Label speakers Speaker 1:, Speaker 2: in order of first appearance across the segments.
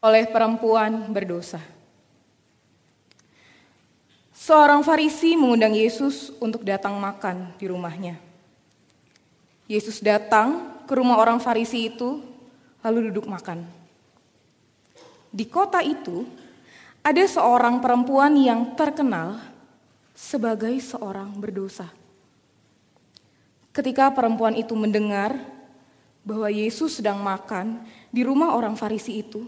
Speaker 1: oleh perempuan berdosa. Seorang Farisi mengundang Yesus untuk datang makan di rumahnya. Yesus datang ke rumah orang Farisi itu, lalu duduk makan. Di kota itu, ada seorang perempuan yang terkenal sebagai seorang berdosa. Ketika perempuan itu mendengar bahwa Yesus sedang makan di rumah orang Farisi itu,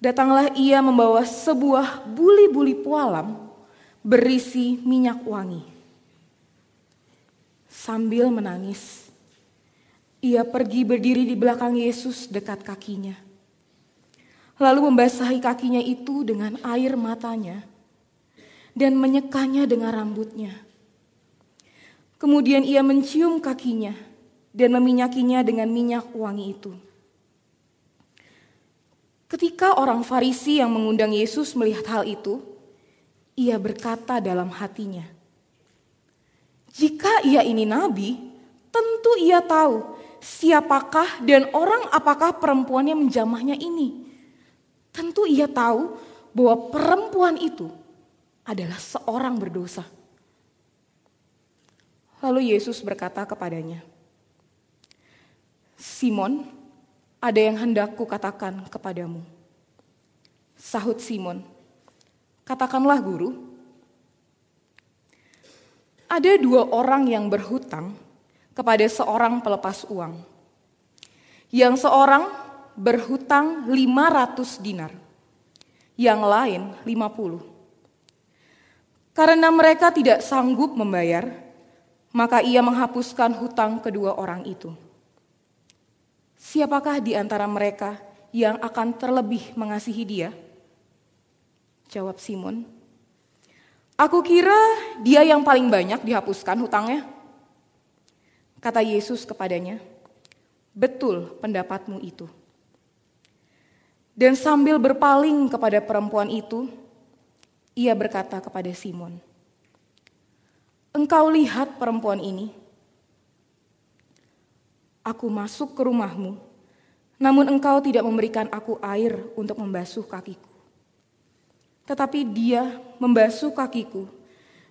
Speaker 1: datanglah ia membawa sebuah buli-buli pualam berisi minyak wangi. Sambil menangis, ia pergi berdiri di belakang Yesus dekat kakinya. Lalu membasahi kakinya itu dengan air matanya dan menyekanya dengan rambutnya. Kemudian ia mencium kakinya dan meminyakinya dengan minyak wangi itu. Ketika orang Farisi yang mengundang Yesus melihat hal itu, ia berkata dalam hatinya, "Jika ia ini nabi, tentu ia tahu siapakah dan orang apakah perempuan yang menjamahnya ini. Tentu ia tahu bahwa perempuan itu adalah seorang berdosa." Lalu Yesus berkata kepadanya, Simon, ada yang hendak kukatakan kepadamu. Sahut Simon, katakanlah guru. Ada dua orang yang berhutang kepada seorang pelepas uang. Yang seorang berhutang 500 dinar, yang lain 50. Karena mereka tidak sanggup membayar, maka ia menghapuskan hutang kedua orang itu. Siapakah di antara mereka yang akan terlebih mengasihi dia? Jawab Simon, "Aku kira dia yang paling banyak dihapuskan hutangnya." Kata Yesus kepadanya, "Betul pendapatmu itu." Dan sambil berpaling kepada perempuan itu, ia berkata kepada Simon, "Engkau lihat perempuan ini?" aku masuk ke rumahmu, namun engkau tidak memberikan aku air untuk membasuh kakiku. Tetapi dia membasuh kakiku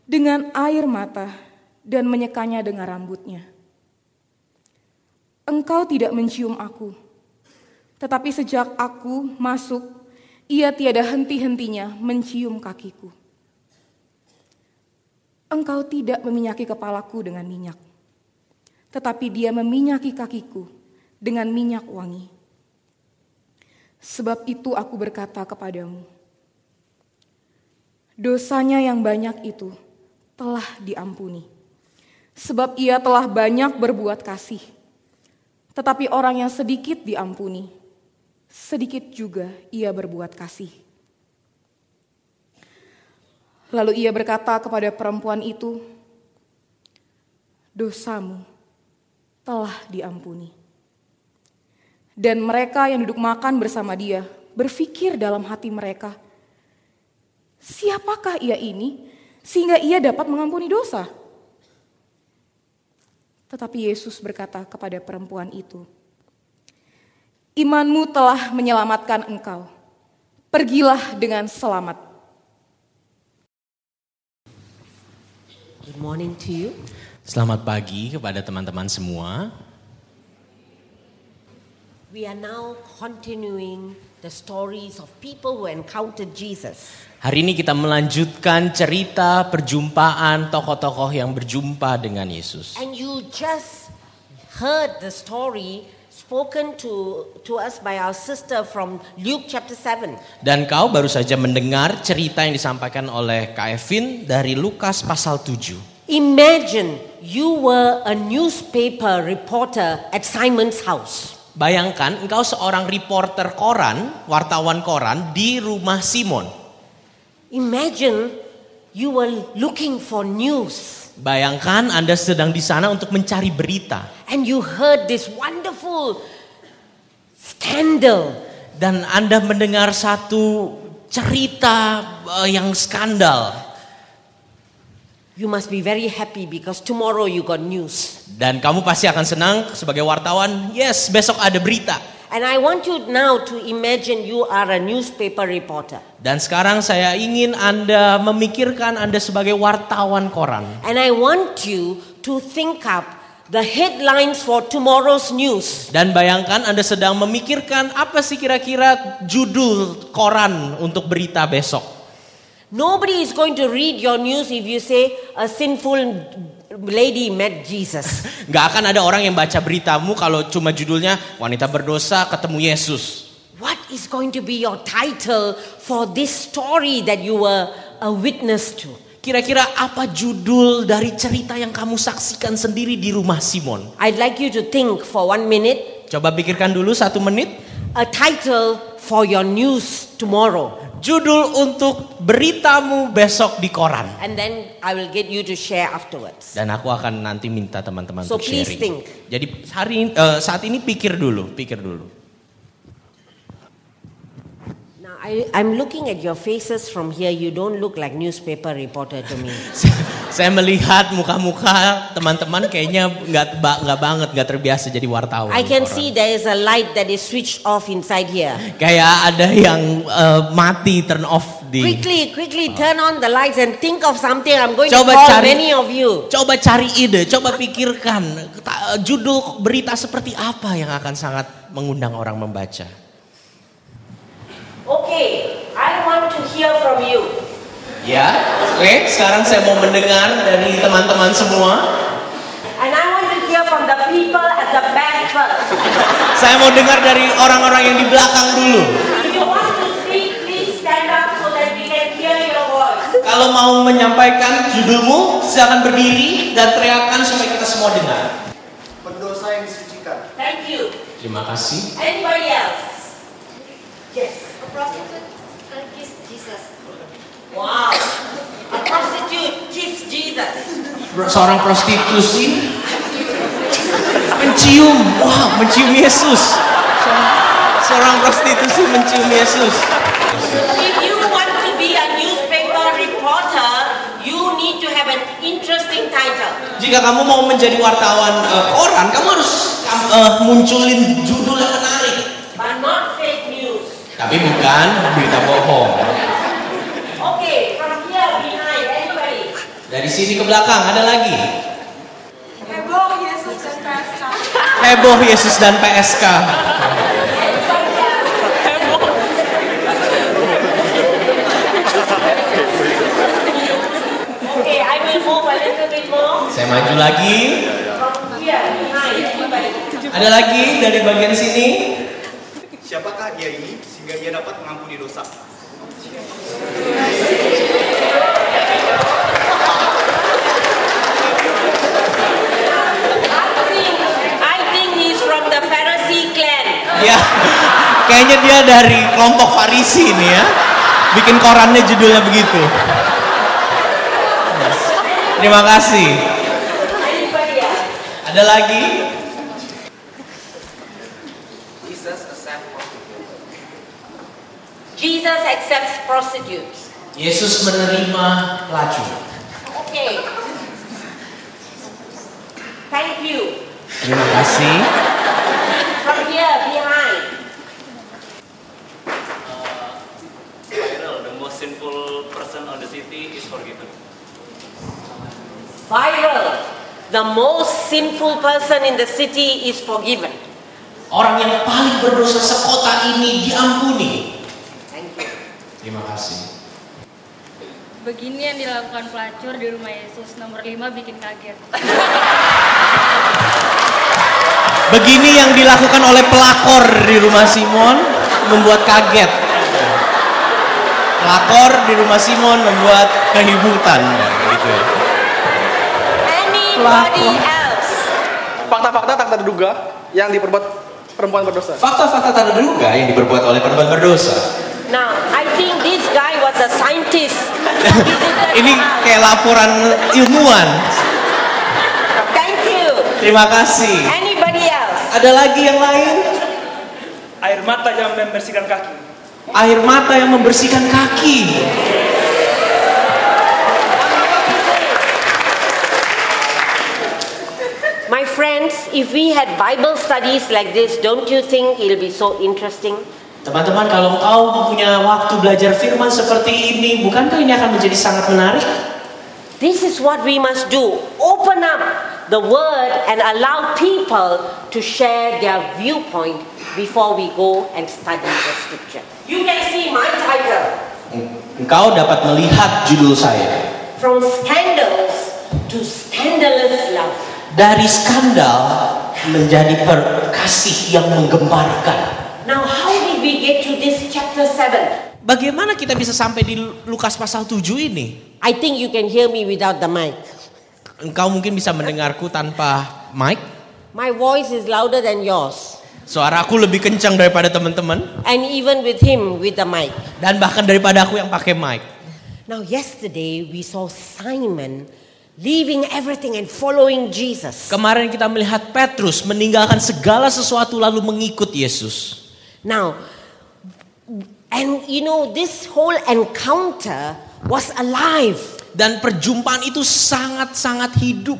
Speaker 1: dengan air mata dan menyekanya dengan rambutnya. Engkau tidak mencium aku, tetapi sejak aku masuk, ia tiada henti-hentinya mencium kakiku. Engkau tidak meminyaki kepalaku dengan minyak, tetapi dia meminyaki kakiku dengan minyak wangi. Sebab itu aku berkata kepadamu, dosanya yang banyak itu telah diampuni. Sebab ia telah banyak berbuat kasih. Tetapi orang yang sedikit diampuni, sedikit juga ia berbuat kasih. Lalu ia berkata kepada perempuan itu, "Dosamu telah diampuni. Dan mereka yang duduk makan bersama dia berpikir dalam hati mereka, "Siapakah ia ini sehingga ia dapat mengampuni dosa?" Tetapi Yesus berkata kepada perempuan itu, "Imanmu telah menyelamatkan engkau. Pergilah dengan selamat."
Speaker 2: Good morning to you.
Speaker 3: Selamat pagi kepada teman-teman semua.
Speaker 2: We are now continuing the stories of people who encountered Jesus.
Speaker 3: Hari ini kita melanjutkan cerita perjumpaan tokoh-tokoh yang berjumpa dengan Yesus.
Speaker 2: And you just heard the story spoken to, to us by our sister from Luke chapter 7.
Speaker 3: Dan kau baru saja mendengar cerita yang disampaikan oleh Kak Evin dari Lukas pasal 7.
Speaker 2: Imagine you were a newspaper reporter at Simon's house.
Speaker 3: Bayangkan engkau seorang reporter koran, wartawan koran di rumah Simon.
Speaker 2: Imagine you were looking for news
Speaker 3: Bayangkan Anda sedang di sana untuk mencari berita.
Speaker 2: and you heard this wonderful scandal.
Speaker 3: Dan Anda mendengar satu cerita eh, yang skandal.
Speaker 2: You must be very happy because tomorrow you got news.
Speaker 3: Dan kamu pasti akan senang sebagai wartawan. Yes, besok ada berita.
Speaker 2: And I want you now to imagine you are a newspaper reporter.
Speaker 3: Dan sekarang saya ingin Anda memikirkan Anda sebagai wartawan koran.
Speaker 2: And I want you to think up the headlines for tomorrow's news.
Speaker 3: Dan bayangkan Anda sedang memikirkan apa sih kira-kira judul koran untuk berita besok.
Speaker 2: Nobody is going to read your news if you say a sinful lady met Jesus.
Speaker 3: Nggak akan ada orang yang baca beritamu kalau cuma judulnya wanita berdosa ketemu Yesus.
Speaker 2: What is going to be your title for this story that you were a witness to?
Speaker 3: Kira-kira apa judul dari cerita yang kamu saksikan sendiri di rumah Simon?
Speaker 2: I'd like you to think for one minute
Speaker 3: Coba pikirkan dulu satu menit.
Speaker 2: a title for your news tomorrow.
Speaker 3: Judul untuk beritamu besok di koran.
Speaker 2: And then I will get you to share afterwards.
Speaker 3: Dan aku akan nanti minta teman-teman
Speaker 2: So,
Speaker 3: untuk
Speaker 2: please
Speaker 3: sharing.
Speaker 2: think.
Speaker 3: Jadi hari eh, saat ini pikir dulu, pikir dulu.
Speaker 2: Now, I, I'm looking at your faces from here. You don't look like newspaper reporter to me.
Speaker 3: Saya melihat muka-muka teman-teman kayaknya nggak ba- nggak banget nggak terbiasa jadi wartawan.
Speaker 2: I can
Speaker 3: koran.
Speaker 2: see there is a light that is switched off inside here.
Speaker 3: Kayak ada yang eh, mati turn off di.
Speaker 2: Quickly, quickly turn on the lights and think of something. I'm going to
Speaker 3: Coba
Speaker 2: call
Speaker 3: cari-
Speaker 2: many of you.
Speaker 3: Coba cari ide, coba pikirkan ta- judul berita seperti apa yang akan sangat mengundang orang membaca.
Speaker 2: Okay, I want to hear from you.
Speaker 3: Ya, oke. Sekarang saya mau mendengar dari teman-teman semua.
Speaker 2: And I want to hear from the people at the back first.
Speaker 3: Saya mau dengar dari orang-orang yang di belakang dulu.
Speaker 2: If you want to speak, please stand up so that we can hear your voice.
Speaker 3: Kalau mau menyampaikan judulmu, silakan berdiri dan teriakan supaya kita semua dengar.
Speaker 4: pendosa yang disucikan.
Speaker 2: Thank you.
Speaker 3: Terima kasih.
Speaker 2: Anybody else? Yes.
Speaker 5: A prostitute uh, kissed Jesus.
Speaker 2: Wow. A prostitute kissed Jesus.
Speaker 3: Seorang prostitusi mencium, wah, mencium Yesus. Seorang- Seorang prostitusi mencium Yesus.
Speaker 2: If you want to be a newspaper reporter, you need to have an interesting title.
Speaker 3: Jika kamu mau menjadi wartawan eh, koran, kamu harus kam- eh, munculin judul yang menarik.
Speaker 2: But not fake news.
Speaker 3: Tapi bukan berita bohong.
Speaker 2: Okay, from here behind, anybody?
Speaker 3: Dari sini ke belakang ada lagi.
Speaker 5: Heboh Yesus dan PSK.
Speaker 3: Heboh Yesus dan PSK.
Speaker 2: Okay, I will move a little bit more.
Speaker 3: Saya maju lagi.
Speaker 2: From here behind, anybody?
Speaker 3: Ada lagi dari bagian sini.
Speaker 4: Siapakah dia ini sehingga dia dapat mengampuni dosa?
Speaker 2: I think, I think he's from the Pharisee clan.
Speaker 3: Ya, kayaknya dia dari kelompok Farisi ini ya. Bikin korannya judulnya begitu. Terima kasih.
Speaker 2: Anybody else?
Speaker 3: Ada lagi.
Speaker 2: Jesus accepts prostitutes.
Speaker 3: Yesus menerima pelacur.
Speaker 2: Okay. Thank you.
Speaker 3: Terima kasih.
Speaker 2: From here, behind.
Speaker 6: Viral, Uh, the most sinful person on the city is forgiven.
Speaker 2: Viral. The most sinful person in the city is forgiven.
Speaker 3: Orang yang paling berdosa sekota ini diampuni.
Speaker 2: Thank you.
Speaker 3: Terima kasih.
Speaker 7: Begini yang dilakukan pelacur di rumah Yesus nomor 5 bikin kaget.
Speaker 3: Begini yang dilakukan oleh pelakor di rumah Simon membuat kaget. Pelakor di rumah Simon membuat kehibutan. Ya, gitu ya.
Speaker 2: Anybody else?
Speaker 8: fakta-fakta tak terduga yang diperbuat perempuan berdosa.
Speaker 3: Fakta-fakta tak terduga yang diperbuat oleh perempuan berdosa.
Speaker 2: Now, I think this guy was a scientist.
Speaker 3: Ini kayak laporan ilmuwan.
Speaker 2: Thank you.
Speaker 3: Terima kasih.
Speaker 2: Anybody else?
Speaker 3: Ada lagi yang lain?
Speaker 6: Air mata yang membersihkan kaki.
Speaker 3: Air mata yang membersihkan kaki.
Speaker 2: My friends, if we had Bible studies like this, don't you think it'll be so interesting?
Speaker 3: Teman-teman, kalau kau punya waktu belajar firman seperti ini, bukankah ini akan menjadi sangat menarik?
Speaker 2: This is what we must do. Open up the word and allow people to share their viewpoint before we go and study the scripture. You can see my title
Speaker 3: Engkau dapat melihat judul saya.
Speaker 2: From Scandals to Scandalous Love.
Speaker 3: Dari skandal menjadi perkasih yang menggemparkan.
Speaker 2: Now, how did we get to this chapter 7?
Speaker 3: Bagaimana kita bisa sampai di Lukas pasal 7 ini?
Speaker 2: I think you can hear me without the mic.
Speaker 3: Engkau mungkin bisa mendengarku tanpa mic.
Speaker 2: My voice is louder than yours,
Speaker 3: Suara aku lebih kencang daripada teman-teman
Speaker 2: and even with him with the mic.
Speaker 3: dan bahkan daripada aku yang pakai mic.
Speaker 2: Now, yesterday we saw Simon leaving everything and following Jesus.
Speaker 3: Kemarin kita melihat Petrus meninggalkan segala sesuatu lalu mengikut Yesus.
Speaker 2: Now, and you know, this whole encounter was alive,
Speaker 3: Dan perjumpaan itu sangat-sangat hidup,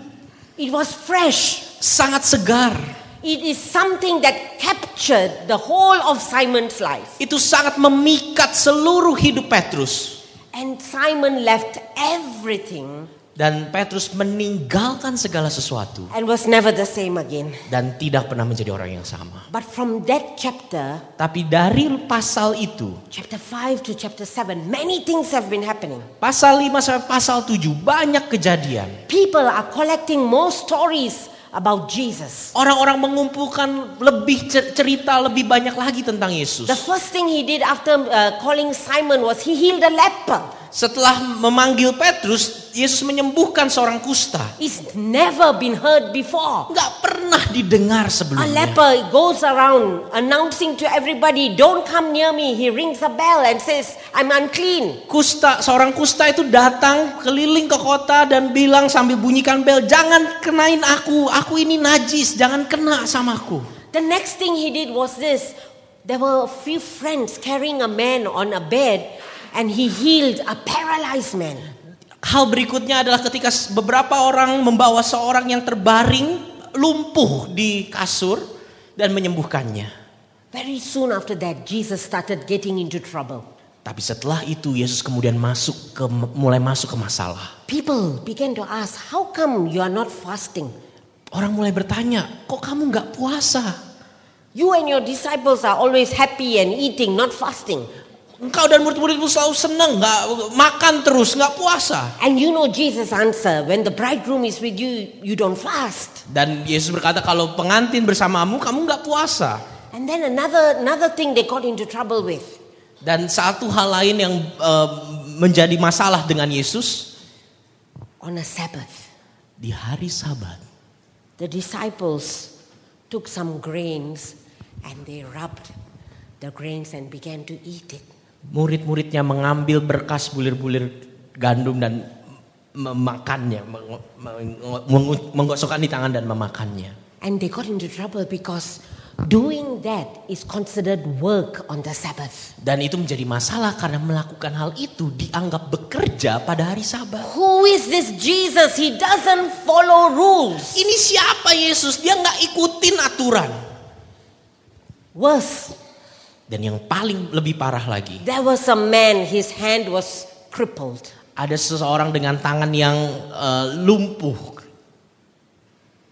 Speaker 2: it was fresh.
Speaker 3: sangat segar.
Speaker 2: It is something that captured the whole of Simon's life.
Speaker 3: Itu sangat memikat seluruh hidup Petrus.
Speaker 2: And Simon left everything
Speaker 3: Dan Petrus meninggalkan segala sesuatu
Speaker 2: and was never the same again.
Speaker 3: dan tidak pernah menjadi orang yang sama.
Speaker 2: But from that chapter,
Speaker 3: Tapi dari pasal itu,
Speaker 2: chapter 5 to chapter 7, many things have been happening.
Speaker 3: pasal 5 sampai pasal 7 banyak kejadian.
Speaker 2: People are collecting more stories about Jesus.
Speaker 3: Orang-orang mengumpulkan lebih cer- cerita lebih banyak lagi tentang Yesus.
Speaker 2: The first thing he did after uh, calling Simon was he healed a leper.
Speaker 3: Setelah memanggil Petrus, Yesus menyembuhkan seorang kusta.
Speaker 2: It's never been heard before.
Speaker 3: Nggak pernah didengar
Speaker 2: A
Speaker 3: sebelumnya.
Speaker 2: leper goes around announcing to everybody, Don't come near me. He rings a bell and says, I'm unclean.
Speaker 3: Kusta, seorang kusta itu datang keliling ke kota dan bilang sambil bunyikan bel, jangan kenain aku, aku ini najis, jangan kena samaku.
Speaker 2: The next thing he did was this there were a few friends carrying a man on a bed, and he healed a paralyzed man.
Speaker 3: Hal berikutnya adalah ketika beberapa orang membawa seorang yang terbaring lumpuh di kasur dan menyembuhkannya.
Speaker 2: Very soon after that, Jesus started getting into trouble.
Speaker 3: Tapi setelah itu Yesus kemudian masuk ke mulai masuk ke masalah.
Speaker 2: People began to ask, How come you are not fasting?
Speaker 3: Orang mulai bertanya, kok kamu nggak puasa?
Speaker 2: You and your disciples are always happy and eating, not fasting.
Speaker 3: Engkau dan murid-muridmu selalu senang, nggak makan terus, nggak puasa.
Speaker 2: And you know Jesus' answer when the bridegroom is with you, you don't fast.
Speaker 3: Dan Yesus berkata kalau pengantin bersamamu kamu nggak puasa.
Speaker 2: And then another, another thing they got into trouble with
Speaker 3: Dan satu hal lain yang eh, menjadi masalah dengan Yesus
Speaker 2: on a Sabbath,
Speaker 3: di hari Sabat.
Speaker 2: the disciples took some grains and they rubbed the grains and began to eat it.
Speaker 3: Murid-muridnya mengambil berkas bulir-bulir gandum dan memakannya, meng- meng- menggosokkan di tangan dan memakannya.
Speaker 2: And they got into trouble because doing that is considered work on the Sabbath.
Speaker 3: Dan itu menjadi masalah karena melakukan hal itu dianggap bekerja pada hari Sabat.
Speaker 2: Who is this Jesus? He doesn't follow rules.
Speaker 3: Ini siapa Yesus? Dia nggak ikutin aturan.
Speaker 2: Worse,
Speaker 3: Dan yang paling lebih parah lagi,
Speaker 2: there was a man, his hand was crippled.
Speaker 3: ada seseorang dengan tangan yang eh, lumpuh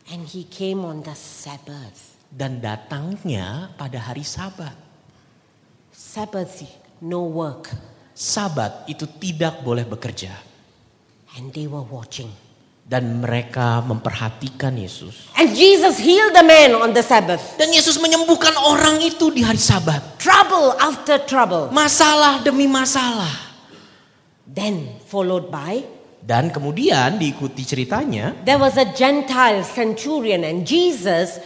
Speaker 2: And he came on the Sabbath.
Speaker 3: dan datangnya pada hari Sabat.
Speaker 2: Sabbath, no work.
Speaker 3: Sabat itu tidak boleh bekerja
Speaker 2: And they were watching.
Speaker 3: dan mereka memperhatikan Yesus.
Speaker 2: And Jesus healed the man on the Sabbath.
Speaker 3: Dan Yesus menyembuhkan orang itu di hari Sabat.
Speaker 2: Trouble after trouble.
Speaker 3: Masalah demi masalah.
Speaker 2: Then, followed by,
Speaker 3: Dan kemudian diikuti ceritanya
Speaker 2: there was a Gentile centurion, and Jesus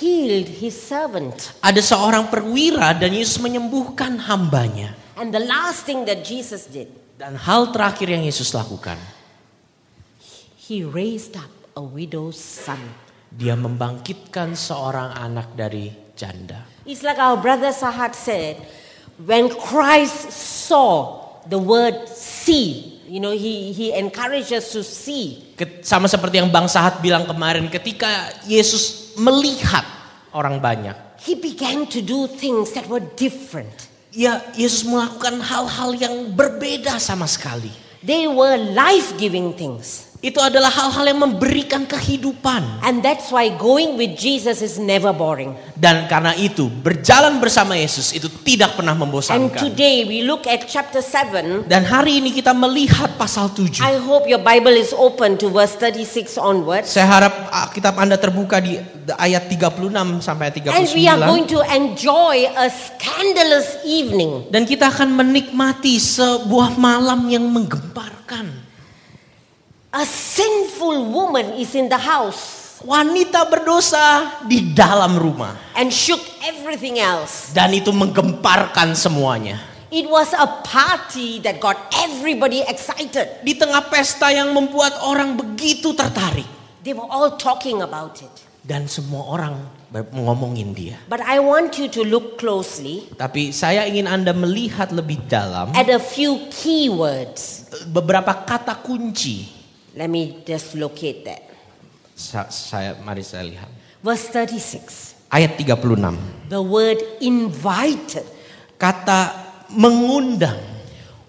Speaker 2: healed his servant.
Speaker 3: Ada seorang perwira dan Yesus menyembuhkan hambanya.
Speaker 2: And the last thing that Jesus did,
Speaker 3: Dan hal terakhir yang Yesus lakukan,
Speaker 2: he raised up a widow's son.
Speaker 3: dia membangkitkan seorang anak dari janda.
Speaker 2: It's like our brother Sahat said, when Christ saw the word see, you know, he, he encouraged us to see.
Speaker 3: Ke- Sama seperti yang Bang Sahat bilang kemarin, ketika Yesus melihat orang banyak.
Speaker 2: He began to do things that were different.
Speaker 3: Ya, Yesus melakukan hal-hal yang berbeda sama sekali.
Speaker 2: They were life giving things.
Speaker 3: Itu adalah hal-hal yang memberikan kehidupan.
Speaker 2: And that's why going with Jesus is never boring.
Speaker 3: Dan karena itu, berjalan bersama Yesus itu tidak pernah
Speaker 2: And
Speaker 3: membosankan.
Speaker 2: today we look at chapter 7.
Speaker 3: Dan hari ini kita melihat pasal 7.
Speaker 2: I hope your Bible is open to verse 36 onwards.
Speaker 3: Saya harap ah, kitab Anda terbuka di ayat 36 sampai
Speaker 2: And we are
Speaker 3: 39.
Speaker 2: going to enjoy a scandalous evening.
Speaker 3: Dan kita akan menikmati sebuah malam yang menggemparkan.
Speaker 2: A sinful woman is in the house
Speaker 3: Wanita berdosa di dalam rumah.
Speaker 2: and shook everything else.
Speaker 3: Dan itu menggemparkan semuanya.
Speaker 2: It was a party that got everybody excited.
Speaker 3: Di tengah pesta yang membuat orang begitu tertarik.
Speaker 2: They were all talking about it.
Speaker 3: Dan semua orang ber- ngomongin dia.
Speaker 2: But I want you to look closely
Speaker 3: Tapi saya ingin Anda melihat lebih dalam
Speaker 2: at a few key words.
Speaker 3: beberapa kata kunci.
Speaker 2: Let me just locate that.
Speaker 3: Sa- saya mari saya lihat.
Speaker 2: Verse 36.
Speaker 3: Ayat 36.
Speaker 2: The word invited.
Speaker 3: Kata mengundang.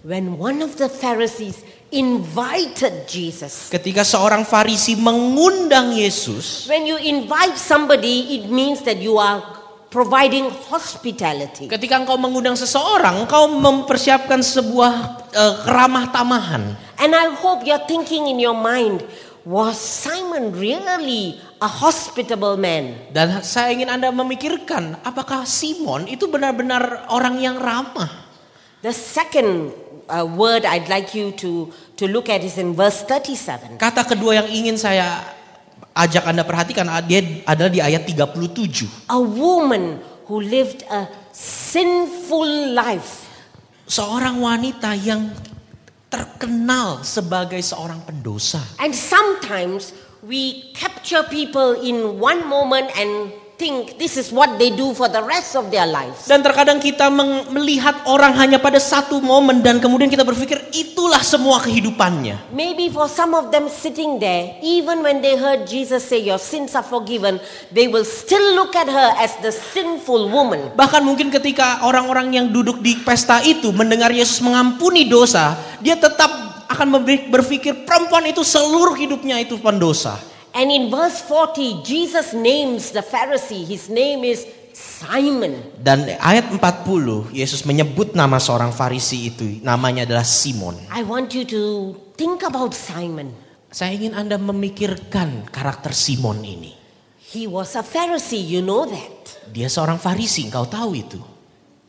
Speaker 2: When one of the Pharisees invited Jesus.
Speaker 3: Ketika seorang Farisi mengundang Yesus,
Speaker 2: When you invite somebody, it means that you are providing hospitality.
Speaker 3: ketika engkau mengundang seseorang, engkau mempersiapkan sebuah eh, keramah tamahan.
Speaker 2: And I hope you're thinking in your mind, was Simon really a hospitable man?
Speaker 3: Dan saya ingin Anda memikirkan, apakah Simon itu benar-benar orang yang ramah?
Speaker 2: The second uh, word I'd like you to, to look at is in verse 37.
Speaker 3: Kata kedua yang ingin saya ajak Anda perhatikan dia adalah di ayat 37.
Speaker 2: A woman who lived a sinful life.
Speaker 3: seorang wanita yang terkenal sebagai seorang pendosa.
Speaker 2: And sometimes we capture people in one moment and think this is what they do for the rest of their lives.
Speaker 3: Dan terkadang kita meng- melihat orang hanya pada satu momen dan kemudian kita berpikir itulah semua kehidupannya.
Speaker 2: Maybe for some of them sitting there, even when they heard Jesus say, Your sins are forgiven, they will still look at her as the sinful woman.
Speaker 3: Bahkan mungkin ketika orang-orang yang duduk di pesta itu mendengar Yesus mengampuni dosa, dia tetap akan membe- berpikir perempuan itu seluruh hidupnya itu pendosa.
Speaker 2: And in verse 40, Jesus names the Pharisee. His name is Simon.
Speaker 3: Dan ayat 40 Yesus menyebut nama seorang Farisi itu, namanya adalah Simon.
Speaker 2: I want you to think about Simon.
Speaker 3: Saya ingin Anda memikirkan karakter Simon ini.
Speaker 2: He was a Pharisee, you know that.
Speaker 3: Dia seorang Farisi, engkau tahu itu.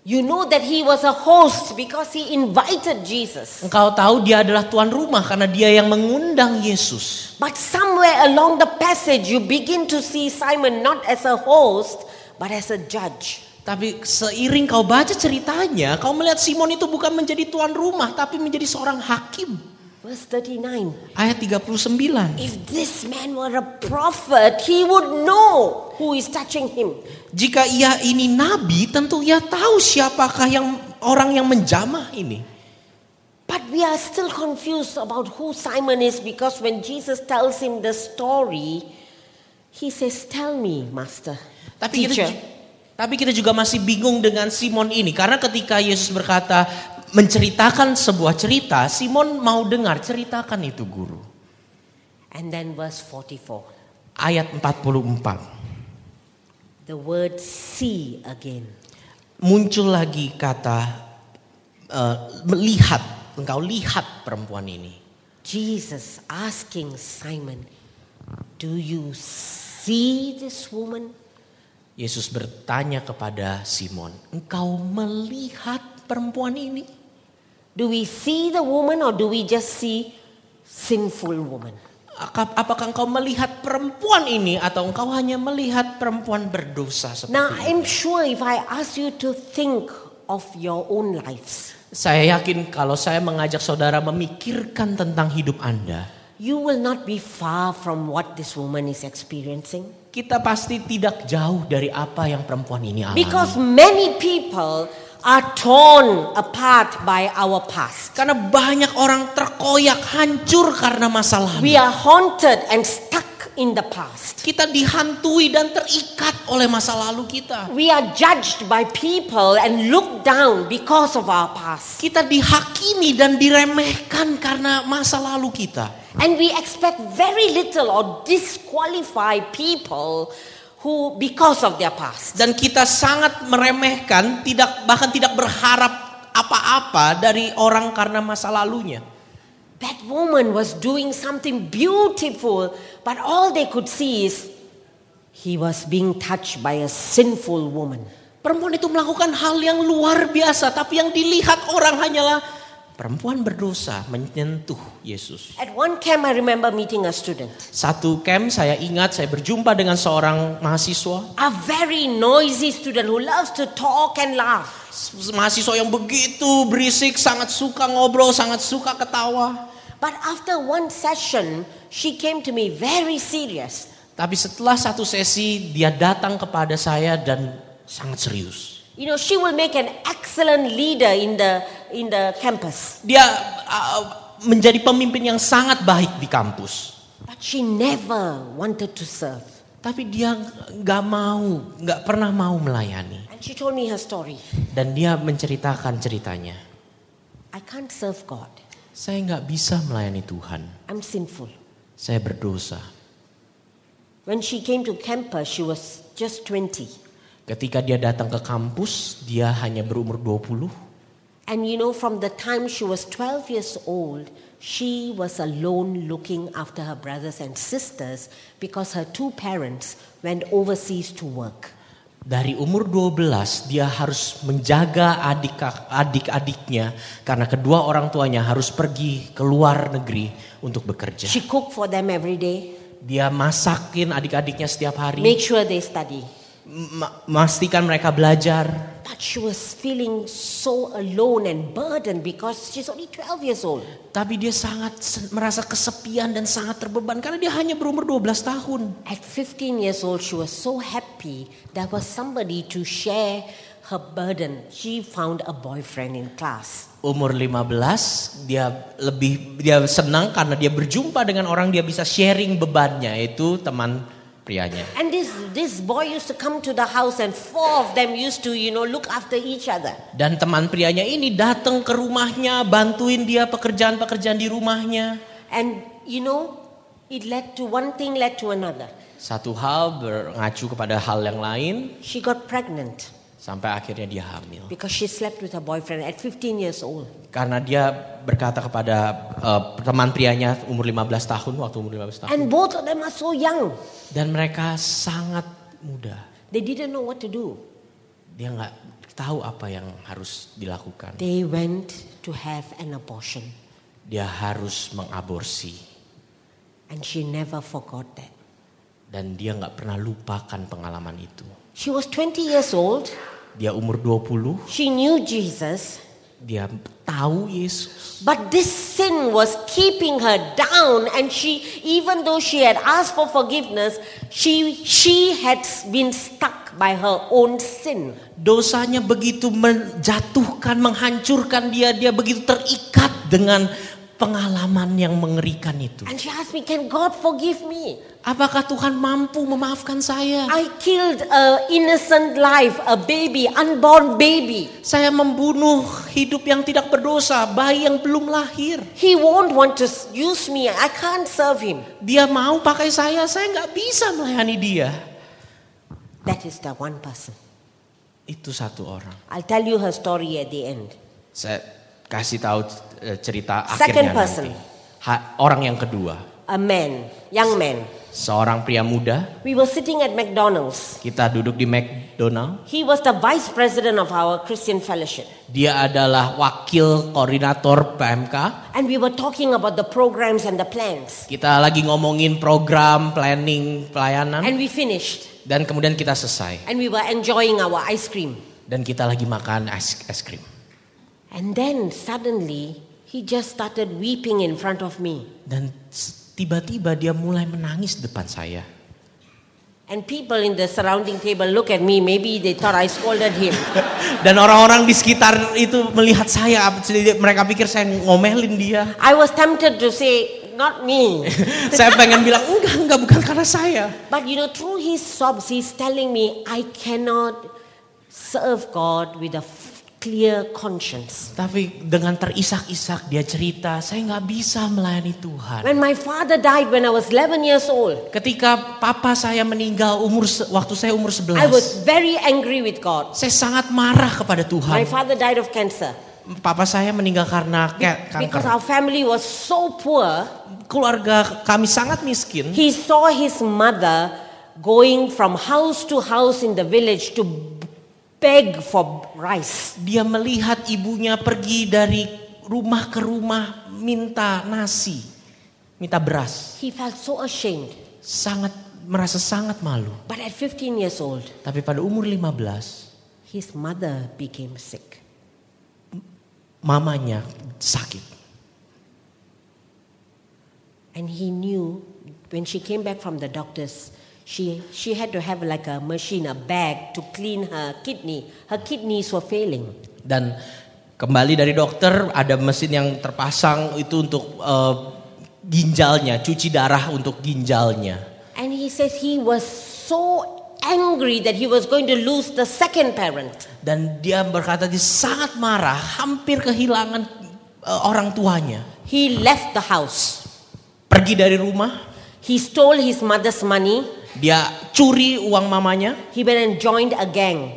Speaker 2: You know that he was a host because he invited Jesus.
Speaker 3: Engkau tahu dia adalah tuan rumah karena dia yang mengundang Yesus.
Speaker 2: But somewhere along the passage, you begin to see Simon not as a host, but as a judge.
Speaker 3: Tapi seiring kau baca ceritanya, kau melihat Simon itu bukan menjadi tuan rumah, tapi menjadi seorang hakim.
Speaker 2: Verse 39
Speaker 3: Ayat 39.
Speaker 2: If this man were a prophet, he would know who is touching him.
Speaker 3: Jika ia ini nabi, tentu ia tahu siapakah yang orang yang menjamah ini.
Speaker 2: But we are still confused about who Simon is because when Jesus tells him the story, he says, Tell me, Master.
Speaker 3: Tapi kita,
Speaker 2: teacher."
Speaker 3: ju- tapi kita juga masih bingung dengan Simon ini karena ketika Yesus berkata menceritakan sebuah cerita, Simon mau dengar ceritakan itu guru.
Speaker 2: And then verse 44,
Speaker 3: Ayat 44.
Speaker 2: the word see again.
Speaker 3: Muncul lagi kata eh, melihat, engkau lihat perempuan ini.
Speaker 2: Jesus asking Simon, Do you see this woman?
Speaker 3: Yesus bertanya kepada Simon, "Engkau melihat perempuan ini?"
Speaker 2: Do we see the woman or do we just see sinful woman?
Speaker 3: Aka- Apakah engkau melihat perempuan ini atau engkau hanya melihat perempuan berdosa seperti
Speaker 2: Now,
Speaker 3: ini?
Speaker 2: I'm sure if I ask you to think of your own lives,
Speaker 3: Saya yakin kalau saya mengajak saudara memikirkan tentang hidup Anda,
Speaker 2: you will not be far from what this woman is experiencing.
Speaker 3: Ah. kita pasti tidak jauh dari apa yang perempuan ini alami.
Speaker 2: Because many people are torn apart by our past.
Speaker 3: Karena banyak orang terkoyak, hancur karena masalah.
Speaker 2: We are haunted and stuck in the past.
Speaker 3: Kita dihantui dan terikat oleh masa lalu kita.
Speaker 2: We are judged by people and looked down because of our past.
Speaker 3: Kita dihakimi dan diremehkan karena masa lalu kita.
Speaker 2: And we expect very little or disqualify people who, because of their past.
Speaker 3: Dan kita sangat meremehkan, tidak bahkan tidak berharap apa-apa dari orang karena masa lalunya.
Speaker 2: That woman was doing something beautiful, but all they could see is he was being touched by a sinful woman.
Speaker 3: Perempuan itu melakukan hal yang luar biasa, tapi yang dilihat orang hanyalah perempuan berdosa menyentuh Yesus.
Speaker 2: At one camp, I remember meeting a student,
Speaker 3: Satu camp saya ingat saya berjumpa dengan seorang mahasiswa,
Speaker 2: a very noisy student who loves to talk and laugh.
Speaker 3: S- mahasiswa yang begitu berisik, sangat suka ngobrol, sangat suka ketawa.
Speaker 2: But after one session, she came to me very serious.
Speaker 3: Tapi setelah satu sesi dia datang kepada saya dan sangat serius.
Speaker 2: You know, she will make an excellent leader in the in the campus,
Speaker 3: Dia uh, menjadi pemimpin yang sangat baik di kampus.
Speaker 2: but she never wanted to serve.
Speaker 3: Tapi dia nggak mau, nggak pernah mau melayani.
Speaker 2: And she told me her story.
Speaker 3: Dan dia menceritakan ceritanya.
Speaker 2: I can't serve God.
Speaker 3: Saya nggak bisa melayani Tuhan.
Speaker 2: I'm sinful.
Speaker 3: Saya berdosa.
Speaker 2: When she came to campus, she was just 20.
Speaker 3: Ketika dia datang ke kampus, dia hanya berumur 20.
Speaker 2: And you know, from the time she was 12 years old, she was alone looking after her brothers and sisters because her two parents went overseas to work.
Speaker 3: Dari umur 12 dia harus menjaga adik adik-adiknya karena kedua orang tuanya harus pergi ke luar negeri untuk bekerja.
Speaker 2: She cooked for them every day,
Speaker 3: Dia masakin adik-adiknya setiap hari,
Speaker 2: make sure they study.
Speaker 3: ma- memastikan mereka belajar.
Speaker 2: But she was feeling so alone and burdened because she's only 12 years old.
Speaker 3: Tapi dia sangat se- merasa kesepian dan sangat terbeban karena dia hanya berumur 12 tahun.
Speaker 2: At 15 years old, she was so happy there was somebody to share her burden. She found a boyfriend in class.
Speaker 3: umur 15 dia lebih dia senang karena dia berjumpa dengan orang dia bisa sharing bebannya yaitu teman prianya.
Speaker 2: And this, this boy used to come to the house, and four of them used to, you know, look after each other.
Speaker 3: Dan teman prianya ini datang ke rumahnya, bantuin dia pekerjaan-pekerjaan di rumahnya.
Speaker 2: And, you know, it led to one thing, led to another.
Speaker 3: Satu hal berngacu kepada hal yang lain
Speaker 2: She got pregnant
Speaker 3: sampai akhirnya dia hamil.
Speaker 2: because she slept with her boyfriend at 15 years old.
Speaker 3: Karena dia berkata kepada eh, teman prianya umur 15 tahun waktu umur 15 tahun
Speaker 2: And both of them are so young,
Speaker 3: dan mereka sangat muda.
Speaker 2: they didn't know what to do.
Speaker 3: Dia nggak tahu apa yang harus dilakukan.
Speaker 2: They went to have an abortion,
Speaker 3: dia harus mengaborsi
Speaker 2: and she never forgot that.
Speaker 3: dan dia nggak pernah lupakan pengalaman itu.
Speaker 2: She was 20 years old.
Speaker 3: Dia umur 20,
Speaker 2: She knew Jesus,
Speaker 3: dia tahu Yesus,
Speaker 2: but this sin was keeping her down and she even though she had asked for forgiveness, she she had been stuck by her own sin.
Speaker 3: dosanya begitu menjatuhkan, menghancurkan dia, dia begitu terikat dengan pengalaman yang mengerikan itu.
Speaker 2: And she asked me, "Can God forgive me?
Speaker 3: Apakah Tuhan mampu memaafkan saya?
Speaker 2: I killed a innocent life, a baby, unborn baby.
Speaker 3: Saya membunuh hidup yang tidak berdosa, bayi yang belum lahir.
Speaker 2: He won't want to s- use me. I can't serve him."
Speaker 3: Dia mau pakai saya, saya nggak bisa melayani dia.
Speaker 2: That is the one person.
Speaker 3: Itu satu orang.
Speaker 2: I'll tell you her story at the end.
Speaker 3: Saya kasih tahu eh, cerita
Speaker 2: Second
Speaker 3: akhirnya
Speaker 2: person.
Speaker 3: nanti. Ha- orang yang kedua,
Speaker 2: A man, young man.
Speaker 3: seorang pria muda.
Speaker 2: We were sitting at McDonald's.
Speaker 3: Kita duduk di McDonald.
Speaker 2: He was the vice president of our Christian fellowship.
Speaker 3: Dia adalah wakil koordinator PMK.
Speaker 2: And we were talking about the programs and the plans.
Speaker 3: Kita lagi ngomongin program, planning, pelayanan.
Speaker 2: And we finished.
Speaker 3: Dan kemudian kita selesai.
Speaker 2: And we were enjoying our ice cream.
Speaker 3: Dan kita lagi makan es, es krim.
Speaker 2: And then suddenly, he just started weeping in front of me.
Speaker 3: Dan s- tiba-tiba dia mulai menangis depan saya.
Speaker 2: And people in the surrounding table look at me. Maybe they thought I scolded him.
Speaker 3: Dan orang-orang di sekitar itu melihat saya, apa- mereka pikir saya ngomelin dia.
Speaker 2: I was tempted to say, not me.
Speaker 3: saya pengen bilang enggak, enggak bukan karena saya.
Speaker 2: But you know, through his sobs, he's telling me I cannot serve God with a f- clear conscience.
Speaker 3: Tapi dengan terisak-isak dia cerita, saya nggak bisa melayani Tuhan.
Speaker 2: When my father died when I was 11 years old,
Speaker 3: Ketika papa saya meninggal umur se- waktu saya umur
Speaker 2: I was
Speaker 3: 11,
Speaker 2: very angry with God.
Speaker 3: saya sangat marah
Speaker 2: My
Speaker 3: kepada Tuhan.
Speaker 2: father died of cancer
Speaker 3: Papa saya meninggal karena ke-
Speaker 2: because
Speaker 3: kanker.
Speaker 2: our family was so poor.
Speaker 3: Keluarga kami sangat miskin.
Speaker 2: He saw his mother going from house to house in the village to beg for rice.
Speaker 3: Dia melihat ibunya pergi dari rumah ke rumah minta nasi, minta beras.
Speaker 2: He felt so ashamed.
Speaker 3: Sangat merasa sangat malu.
Speaker 2: But at 15 years old,
Speaker 3: Tapi pada umur 15,
Speaker 2: his mother became sick.
Speaker 3: mamanya sakit.
Speaker 2: And he knew when she came back from the doctors, she, she had to have like a machine, a bag to clean her kidney. Her kidneys were failing.
Speaker 3: dan kembali dari dokter ada mesin yang terpasang itu untuk eh, ginjalnya cuci darah untuk ginjalnya
Speaker 2: And he says he was so angry that he was going to lose the second parent.
Speaker 3: dan dia berkata dia sangat marah hampir kehilangan eh, orang tuanya
Speaker 2: He left the house.
Speaker 3: pergi dari rumah
Speaker 2: He stole his mother's money.
Speaker 3: dia curi uang mamanya
Speaker 2: He went and joined a gang.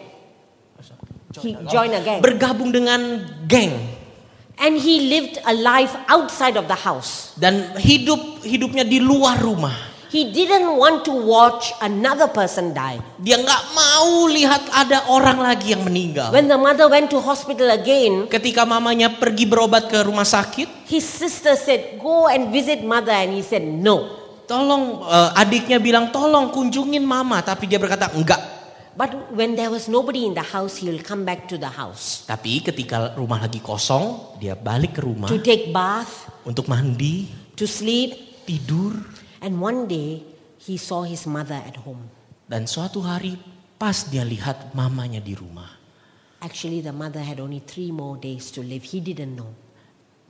Speaker 2: He joined a gang.
Speaker 3: bergabung dengan geng
Speaker 2: And he lived a life outside of the house.
Speaker 3: dan hidup hidupnya di luar rumah
Speaker 2: He didn't want to watch another person die.
Speaker 3: dia nggak mau lihat ada orang lagi yang meninggal
Speaker 2: When the mother went to hospital again,
Speaker 3: ketika mamanya pergi berobat ke rumah sakit
Speaker 2: His sister said, Go and visit mother. And he said, No.
Speaker 3: Tolong eh, adiknya bilang tolong kunjungin mama tapi dia berkata enggak.
Speaker 2: But when there was nobody in the house, he will come back to the house
Speaker 3: Tapi ketika rumah lagi kosong, dia balik ke rumah
Speaker 2: to take bath,
Speaker 3: untuk mandi,
Speaker 2: to sleep.
Speaker 3: tidur
Speaker 2: And one day, he saw his mother at home.
Speaker 3: dan suatu hari pas dia lihat mamanya di rumah.
Speaker 2: Actually, the mother had only three more days to live. He didn't know.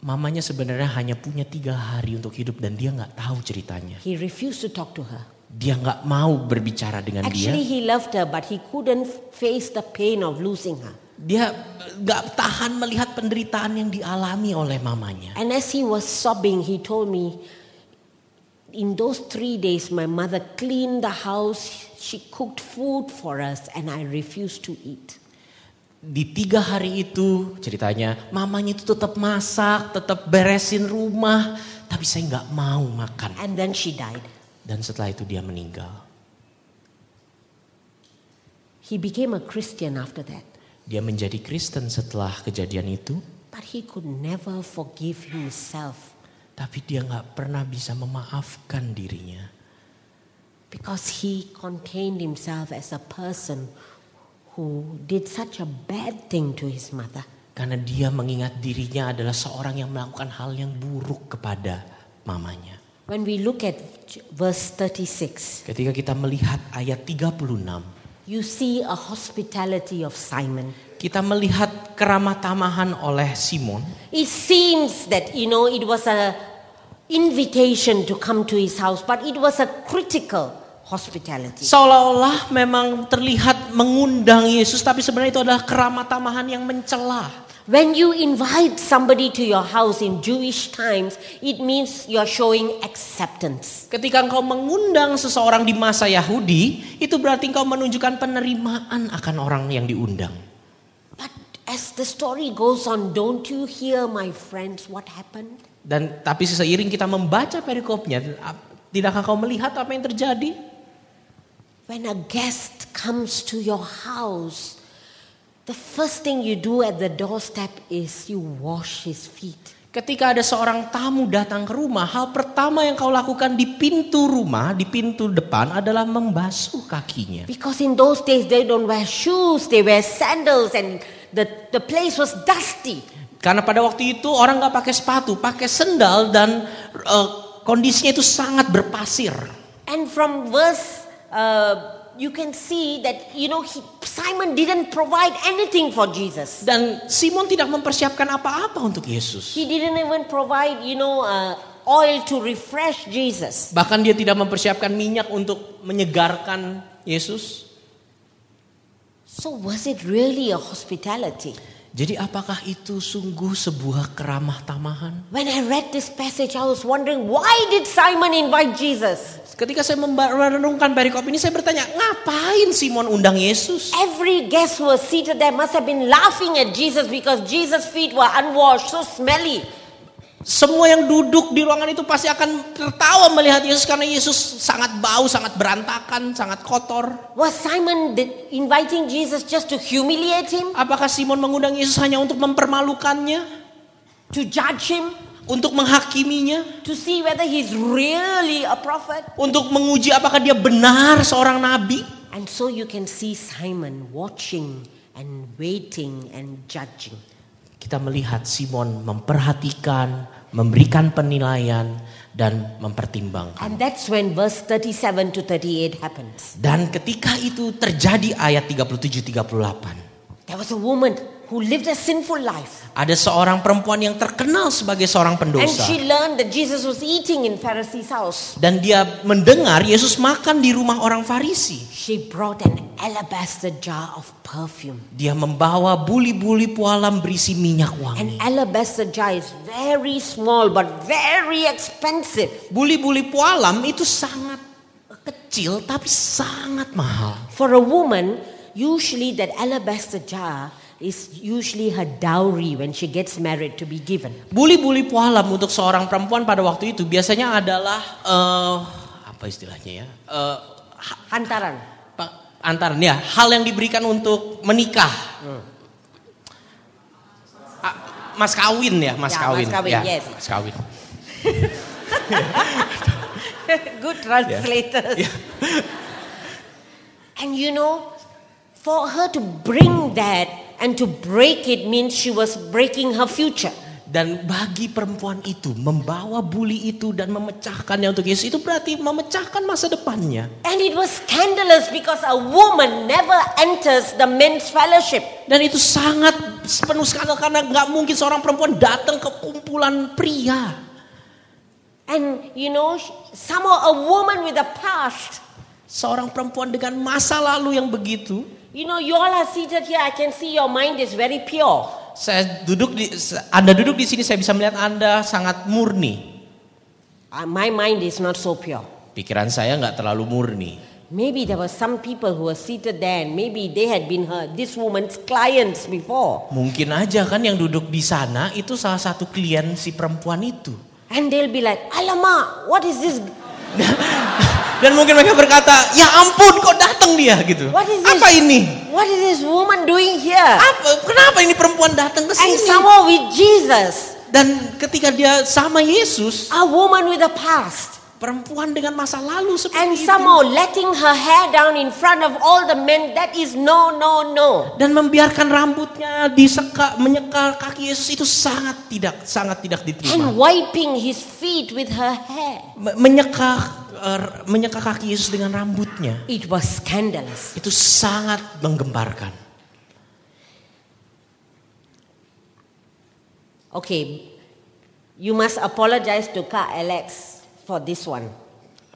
Speaker 3: Mamanya sebenarnya hanya punya tiga hari untuk hidup dan dia nggak tahu ceritanya.
Speaker 2: He refused to talk to her.
Speaker 3: Dia nggak mau berbicara dengan
Speaker 2: Actually,
Speaker 3: dia.
Speaker 2: he loved her, but he couldn't face the pain of losing her.
Speaker 3: Dia nggak tahan melihat penderitaan yang dialami oleh mamanya.
Speaker 2: And as he was sobbing, he told me, In those three days, my mother cleaned the house, she cooked food for us, and I refused to eat.
Speaker 3: di tiga hari itu ceritanya mamanya itu tetap masak, tetap beresin rumah, tapi saya nggak mau makan.
Speaker 2: And then she died.
Speaker 3: Dan setelah itu dia meninggal.
Speaker 2: He became a Christian after that,
Speaker 3: Dia menjadi Kristen setelah kejadian itu,
Speaker 2: but he could never forgive himself
Speaker 3: tapi dia nggak pernah bisa memaafkan dirinya
Speaker 2: because he contained himself as a person who did such a bad thing to his mother.
Speaker 3: karena dia mengingat dirinya adalah seorang yang melakukan hal yang buruk kepada mamanya.
Speaker 2: When we look at verse 36,
Speaker 3: Ketika kita melihat ayat 36,
Speaker 2: you see a hospitality of Simon.
Speaker 3: kita melihat keramah tamahan oleh Simon
Speaker 2: It seems that you know it was a invitation to come to his house, but it was a critical hospitality.
Speaker 3: Seolah-olah memang terlihat mengundang Yesus, tapi sebenarnya itu adalah keramat tamahan yang mencela.
Speaker 2: When you invite somebody to your house in Jewish times, it means you're showing acceptance.
Speaker 3: Ketika engkau mengundang seseorang di masa Yahudi, itu berarti engkau menunjukkan penerimaan akan orang yang diundang.
Speaker 2: But as the story goes on, don't you hear, my friends, what happened?
Speaker 3: Dan tapi seiring kita membaca perikopnya, tidakkah kau melihat apa yang terjadi?
Speaker 2: When a guest comes to your house, the first thing you do at the doorstep is you wash his feet.
Speaker 3: Ketika ada seorang tamu datang ke rumah, hal pertama yang kau lakukan di pintu rumah, di pintu depan adalah membasuh kakinya.
Speaker 2: Because in those days they don't wear shoes, they wear sandals, and the, the place was dusty.
Speaker 3: Karena pada waktu itu orang nggak pakai sepatu, pakai sendal dan eh, kondisinya itu sangat berpasir.
Speaker 2: And from verse uh, you can see that, you know, he, Simon didn't provide anything for Jesus.
Speaker 3: Dan Simon tidak mempersiapkan apa-apa untuk Yesus.
Speaker 2: He didn't even provide, you know, uh, oil to refresh Jesus.
Speaker 3: Bahkan dia tidak mempersiapkan minyak untuk menyegarkan Yesus.
Speaker 2: So, was it really a hospitality?
Speaker 3: Jadi apakah itu sungguh sebuah keramah tamahan?
Speaker 2: When I read this passage, I was wondering why did Simon invite Jesus?
Speaker 3: Ketika saya memba- merenungkan perikop ini saya bertanya, ngapain Simon undang Yesus?
Speaker 2: Every guest who was seated there must have been laughing at Jesus because Jesus' feet were unwashed, so smelly.
Speaker 3: Semua yang duduk di ruangan itu pasti akan tertawa melihat Yesus karena Yesus sangat bau, sangat berantakan, sangat kotor.
Speaker 2: Was Simon did, inviting Jesus just to humiliate him,
Speaker 3: Apakah Simon mengundang Yesus hanya untuk mempermalukannya?
Speaker 2: to judge him,
Speaker 3: Untuk menghakiminya?
Speaker 2: to see whether he's really a prophet?
Speaker 3: Untuk menguji apakah dia benar seorang nabi?
Speaker 2: And so you can see Simon watching and waiting and judging.
Speaker 3: Kita melihat Simon memperhatikan, memberikan penilaian, dan mempertimbangkan.
Speaker 2: And that's when verse 37 to 38 happens.
Speaker 3: Dan ketika itu terjadi ayat 37-38.
Speaker 2: There was a woman who lived a sinful life,
Speaker 3: Ada seorang perempuan yang terkenal sebagai
Speaker 2: and
Speaker 3: seorang pendosa.
Speaker 2: she learned that Jesus was eating in Pharisee's house.
Speaker 3: Dan dia mendengar Yesus makan di rumah orang Farisi.
Speaker 2: She brought an alabaster jar of perfume.
Speaker 3: Dia membawa buli-buli pualam berisi minyak
Speaker 2: An
Speaker 3: wangi.
Speaker 2: alabaster jar is very small but very expensive.
Speaker 3: Buli-buli pualam itu sangat kecil tapi sangat mahal.
Speaker 2: For a woman, usually that alabaster jar is usually her dowry when she gets married to be given.
Speaker 3: Buli-buli pualam untuk seorang perempuan pada waktu itu biasanya adalah eh apa istilahnya ya? Eh, ha-
Speaker 2: Hantaran.
Speaker 3: pa- antaran ya, hal yang diberikan untuk menikah.
Speaker 2: Hmm.
Speaker 3: A- Mas kawin ya, mas
Speaker 2: Ya, mas
Speaker 3: kawin.
Speaker 2: kawin,
Speaker 3: ya,
Speaker 2: yes.
Speaker 3: Mas kawin.
Speaker 2: Good translators. and you know, for her to bring that and to break it means she was breaking her future.
Speaker 3: Dan bagi perempuan itu membawa buli itu dan memecahkannya untuk Yesus itu berarti memecahkan masa depannya.
Speaker 2: And it was scandalous because a woman never enters the men's fellowship.
Speaker 3: Dan itu sangat penuh skandal karena nggak mungkin seorang perempuan datang ke kumpulan pria.
Speaker 2: And you know, sh- somehow a woman with a past.
Speaker 3: Seorang perempuan dengan masa lalu yang begitu.
Speaker 2: You know, you all are seated here. I can see your mind is very pure.
Speaker 3: Saya duduk di, Anda duduk di sini saya bisa melihat Anda sangat murni.
Speaker 2: Uh, my mind is not so pure.
Speaker 3: Pikiran saya nggak terlalu murni.
Speaker 2: Maybe there were some people who were seated there, and maybe they had been her this woman's clients before,
Speaker 3: Mungkin aja kan yang duduk di sana itu salah satu klien si perempuan itu.
Speaker 2: and they'll be like, "Alama, what is this?
Speaker 3: Dan mungkin mereka berkata, ya ampun kok datang dia gitu.
Speaker 2: What is this?
Speaker 3: Apa ini?
Speaker 2: What is this woman doing here?"
Speaker 3: Apa? Kenapa ini perempuan datang ke
Speaker 2: And
Speaker 3: sini?
Speaker 2: somehow with Jesus,
Speaker 3: Dan ketika dia sama Yesus,
Speaker 2: a woman with a past,
Speaker 3: perempuan dengan masa lalu seperti
Speaker 2: and
Speaker 3: itu.
Speaker 2: somehow letting her hair down in front of all the men, that is no, no, no.
Speaker 3: Dan membiarkan rambutnya diseka, menyeka kaki Yesus itu sangat tidak, sangat tidak
Speaker 2: And
Speaker 3: diterima.
Speaker 2: wiping his feet with her hair.
Speaker 3: Me- Menyeka, er, menyeka kaki Yesus dengan rambutnya
Speaker 2: It was scandalous.
Speaker 3: itu sangat menggemparkan.
Speaker 2: Okay, you must apologize to Ka Alex for this one.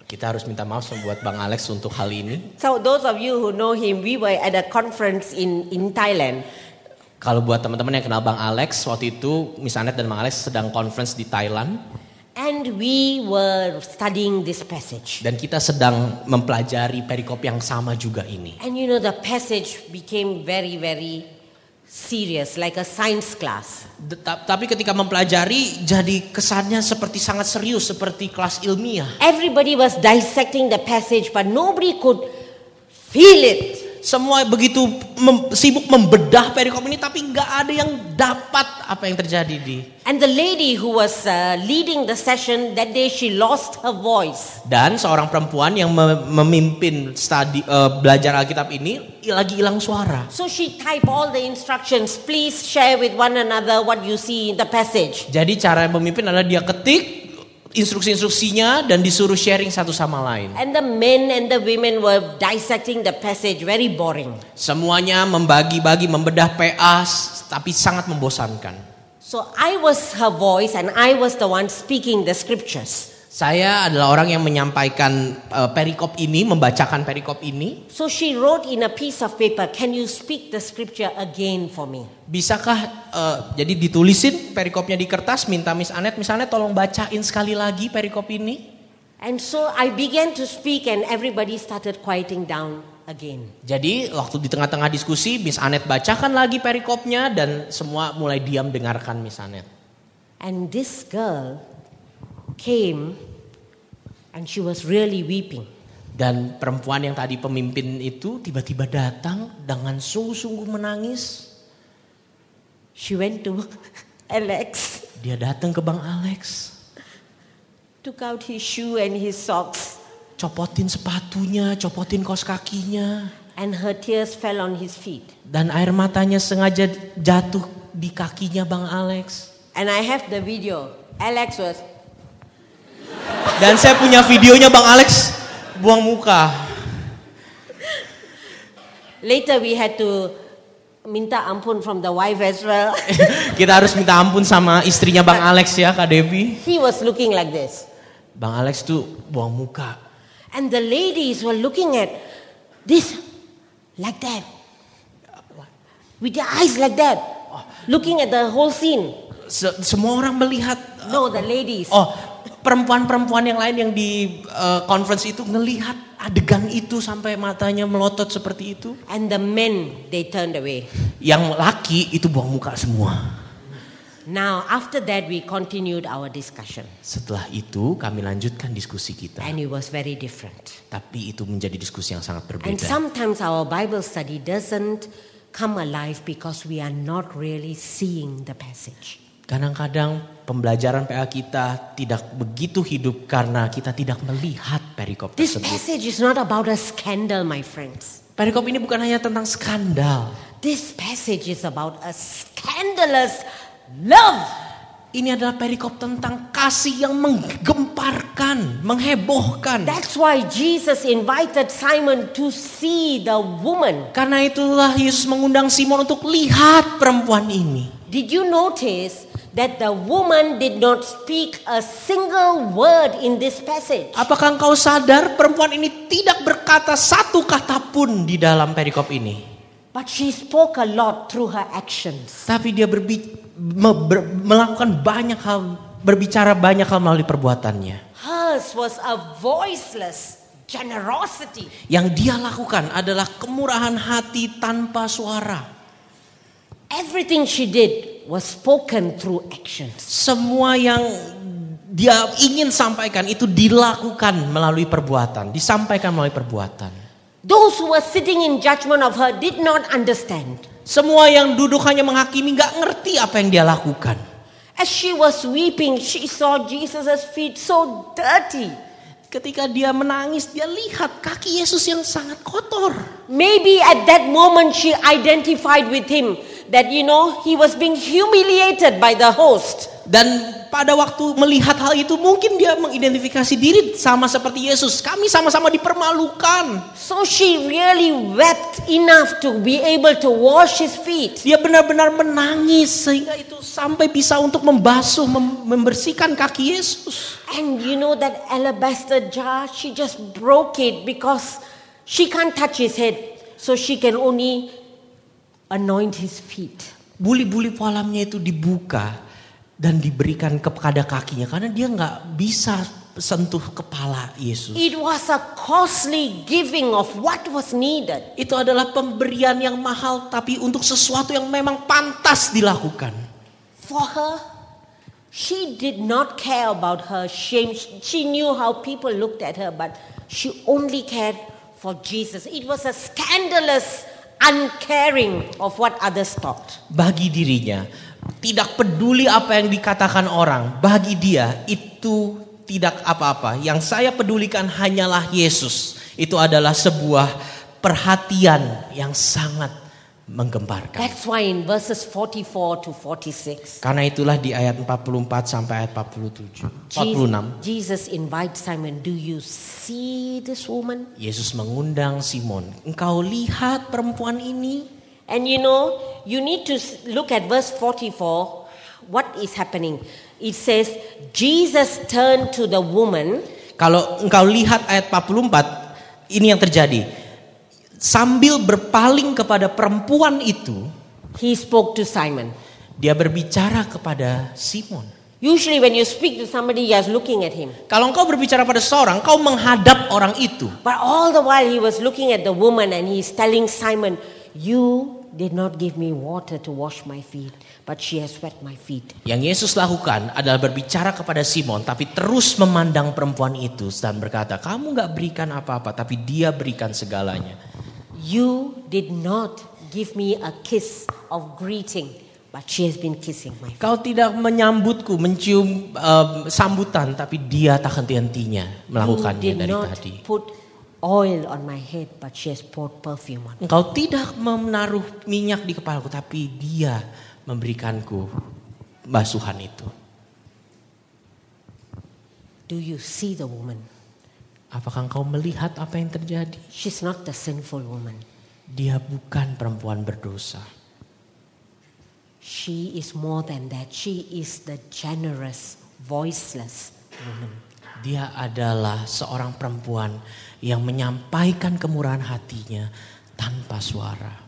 Speaker 3: Kita harus minta maaf sama buat Bang Alex untuk hal ini.
Speaker 2: So those of you who know him, we were at a conference in, in Thailand.
Speaker 3: Kalau buat teman-teman yang kenal Bang Alex, waktu itu Miss Anet dan Bang Alex sedang conference di Thailand.
Speaker 2: And we were studying this passage.
Speaker 3: Dan kita sedang mempelajari perikop yang sama juga ini.
Speaker 2: And you know, the passage became very, very serious, like a science class.
Speaker 3: Tetap- Tapi ketika mempelajari jadi kesannya seperti sangat serius seperti kelas ilmiah.
Speaker 2: Everybody was dissecting the passage, but nobody could feel it.
Speaker 3: Semua begitu mem- sibuk membedah perikop ini tapi nggak ada yang dapat apa yang terjadi di.
Speaker 2: And the lady who was uh, leading the session that day, she lost her voice.
Speaker 3: Dan seorang perempuan yang mem- memimpin studi eh, belajar Alkitab ini lagi hilang suara.
Speaker 2: So she typed all the instructions. Please share with one another what you see in the passage.
Speaker 3: Jadi cara memimpin adalah dia ketik instruksi-instruksinya dan disuruh sharing satu sama lain.
Speaker 2: And the men and the women were dissecting the passage, very boring.
Speaker 3: Semuanya membagi-bagi, membedah PA, s- tapi sangat membosankan.
Speaker 2: So I was her voice and I was the one speaking the scriptures.
Speaker 3: Saya adalah orang yang menyampaikan eh, perikop ini, membacakan perikop ini.
Speaker 2: So she wrote in a piece of paper, Can you speak the scripture again for me?
Speaker 3: Bisakah eh, jadi ditulisin perikopnya di kertas, minta Miss Anet, Miss Anet tolong bacain sekali lagi perikop ini.
Speaker 2: And so I began to speak, and everybody started quieting down again.
Speaker 3: Jadi waktu di tengah-tengah diskusi, Miss Anet bacakan lagi perikopnya dan semua mulai diam dengarkan Miss Anet.
Speaker 2: And this girl came and she was really weeping.
Speaker 3: Dan perempuan yang tadi pemimpin itu tiba-tiba datang dengan sungguh-sungguh menangis.
Speaker 2: She went to Alex,
Speaker 3: Dia datang ke Bang Alex,
Speaker 2: took out his shoe and his socks,
Speaker 3: copotin sepatunya, copotin kos kakinya,
Speaker 2: and her tears fell on his feet.
Speaker 3: dan air matanya sengaja jatuh di kakinya Bang Alex.
Speaker 2: And I have the video. Alex was,
Speaker 3: Dan saya punya videonya Bang Alex buang muka.
Speaker 2: later we had to minta ampun from the wife as well.
Speaker 3: Kita harus minta ampun sama istrinya Bang Alex ya, Kak Devi.
Speaker 2: he was looking like this.
Speaker 3: Bang Alex tuh buang muka.
Speaker 2: And the ladies were looking at this like that. With their eyes like that. Looking at the whole scene.
Speaker 3: Se- semua orang melihat
Speaker 2: No, the ladies.
Speaker 3: Oh, perempuan-perempuan yang lain yang di eh, conference itu ngelihat adegan itu sampai matanya melotot seperti itu.
Speaker 2: And the men, they turned away.
Speaker 3: Yang laki itu buang muka semua.
Speaker 2: Now, after that, we continued our discussion.
Speaker 3: Setelah itu kami lanjutkan diskusi kita.
Speaker 2: And it was very different.
Speaker 3: Tapi itu menjadi diskusi yang sangat
Speaker 2: And
Speaker 3: berbeda.
Speaker 2: sometimes our Bible study doesn't come alive because we are not really seeing the passage.
Speaker 3: Kadang-kadang pembelajaran PA kita tidak begitu hidup karena kita tidak melihat perikop
Speaker 2: This
Speaker 3: tersebut.
Speaker 2: passage is not about a scandal, my friends.
Speaker 3: Perikop ini bukan hanya tentang skandal.
Speaker 2: This passage is about a scandalous love.
Speaker 3: Ini adalah perikop tentang kasih yang menggemparkan, menghebohkan.
Speaker 2: That's why Jesus invited Simon to see the woman.
Speaker 3: Karena itulah Yesus mengundang Simon untuk lihat perempuan ini.
Speaker 2: Did you notice that the woman did not speak a single word in this passage?
Speaker 3: Apakah engkau sadar perempuan ini tidak berkata satu kata pun di dalam perikop ini?
Speaker 2: But she spoke a lot through her actions.
Speaker 3: Tapi dia berbi- me- ber- melakukan banyak hal, berbicara banyak hal melalui perbuatannya.
Speaker 2: Hers was a voiceless generosity.
Speaker 3: Yang dia lakukan adalah kemurahan hati tanpa suara.
Speaker 2: Everything she did was spoken through actions.
Speaker 3: Semua yang dia ingin sampaikan itu dilakukan melalui perbuatan, disampaikan melalui perbuatan.
Speaker 2: Those who were sitting in judgment of her did not understand.
Speaker 3: Semua yang duduk hanya menghakimi nggak ngerti apa yang dia lakukan.
Speaker 2: As she was weeping, she saw Jesus' feet so dirty.
Speaker 3: Ketika dia menangis, dia lihat kaki Yesus yang sangat kotor.
Speaker 2: Maybe at that moment she identified with him that, you know, he was being humiliated by the host.
Speaker 3: Dan pada waktu melihat hal itu mungkin dia mengidentifikasi diri sama seperti Yesus. Kami sama-sama dipermalukan.
Speaker 2: So she really wept enough to be able to wash his feet.
Speaker 3: Dia benar-benar menangis sehingga itu sampai bisa untuk membasuh, mem- membersihkan kaki Yesus.
Speaker 2: And you know that alabaster jar, she just broke it because she can't touch his head, so she can only anoint his feet.
Speaker 3: Buli-buli kolamnya itu dibuka dan diberikan kepada kakinya karena dia nggak bisa sentuh kepala Yesus.
Speaker 2: It was a costly giving of what was needed.
Speaker 3: Itu adalah pemberian yang mahal tapi untuk sesuatu yang memang pantas dilakukan.
Speaker 2: For her, she did not care about her shame. She knew how people looked at her, but she only cared for Jesus. It was a scandalous uncaring of what others thought.
Speaker 3: Bagi dirinya, tidak peduli apa yang dikatakan orang, bagi dia itu tidak apa-apa. Yang saya pedulikan hanyalah Yesus. Itu adalah sebuah perhatian yang sangat menggemparkan.
Speaker 2: That's why in verses 44 to 46,
Speaker 3: Karena itulah di ayat 44 sampai ayat 47,
Speaker 2: Jesus,
Speaker 3: 46,
Speaker 2: Jesus invites Simon, Do you see this woman?
Speaker 3: Yesus mengundang Simon, engkau lihat perempuan ini?
Speaker 2: And you know, you need to s- look at verse 44. What is happening? It says, Jesus turned to the woman.
Speaker 3: Kalau engkau lihat ayat 44, ini yang terjadi. Sambil berpaling kepada perempuan itu,
Speaker 2: He spoke to Simon.
Speaker 3: dia berbicara kepada Simon.
Speaker 2: Usually, when you speak to somebody, you are looking at him.
Speaker 3: Kalau engkau berbicara pada seorang, kau menghadap orang itu.
Speaker 2: But all the while, he was looking at the woman and he's telling Simon, You did not give me water to wash my feet, but she has wet my feet.
Speaker 3: Yang Yesus lakukan adalah berbicara kepada Simon, tapi terus memandang perempuan itu dan berkata, kamu nggak berikan apa-apa, tapi dia berikan segalanya.
Speaker 2: You did not give me a kiss of greeting, but she has been kissing my feet.
Speaker 3: Kau tidak menyambutku, mencium eh, sambutan, tapi dia tak henti-hentinya melakukannya
Speaker 2: you did
Speaker 3: dari
Speaker 2: not
Speaker 3: tadi.
Speaker 2: put oil on my head, but she has poured perfume on me.
Speaker 3: Engkau tidak menaruh minyak di kepalaku, tapi dia memberikanku basuhan itu.
Speaker 2: Do you see the woman?
Speaker 3: Apakah engkau melihat apa yang terjadi?
Speaker 2: She's not the sinful woman.
Speaker 3: Dia bukan perempuan berdosa.
Speaker 2: She is more than that. She is the generous, voiceless woman.
Speaker 3: Dia adalah seorang perempuan yang menyampaikan kemurahan hatinya tanpa suara.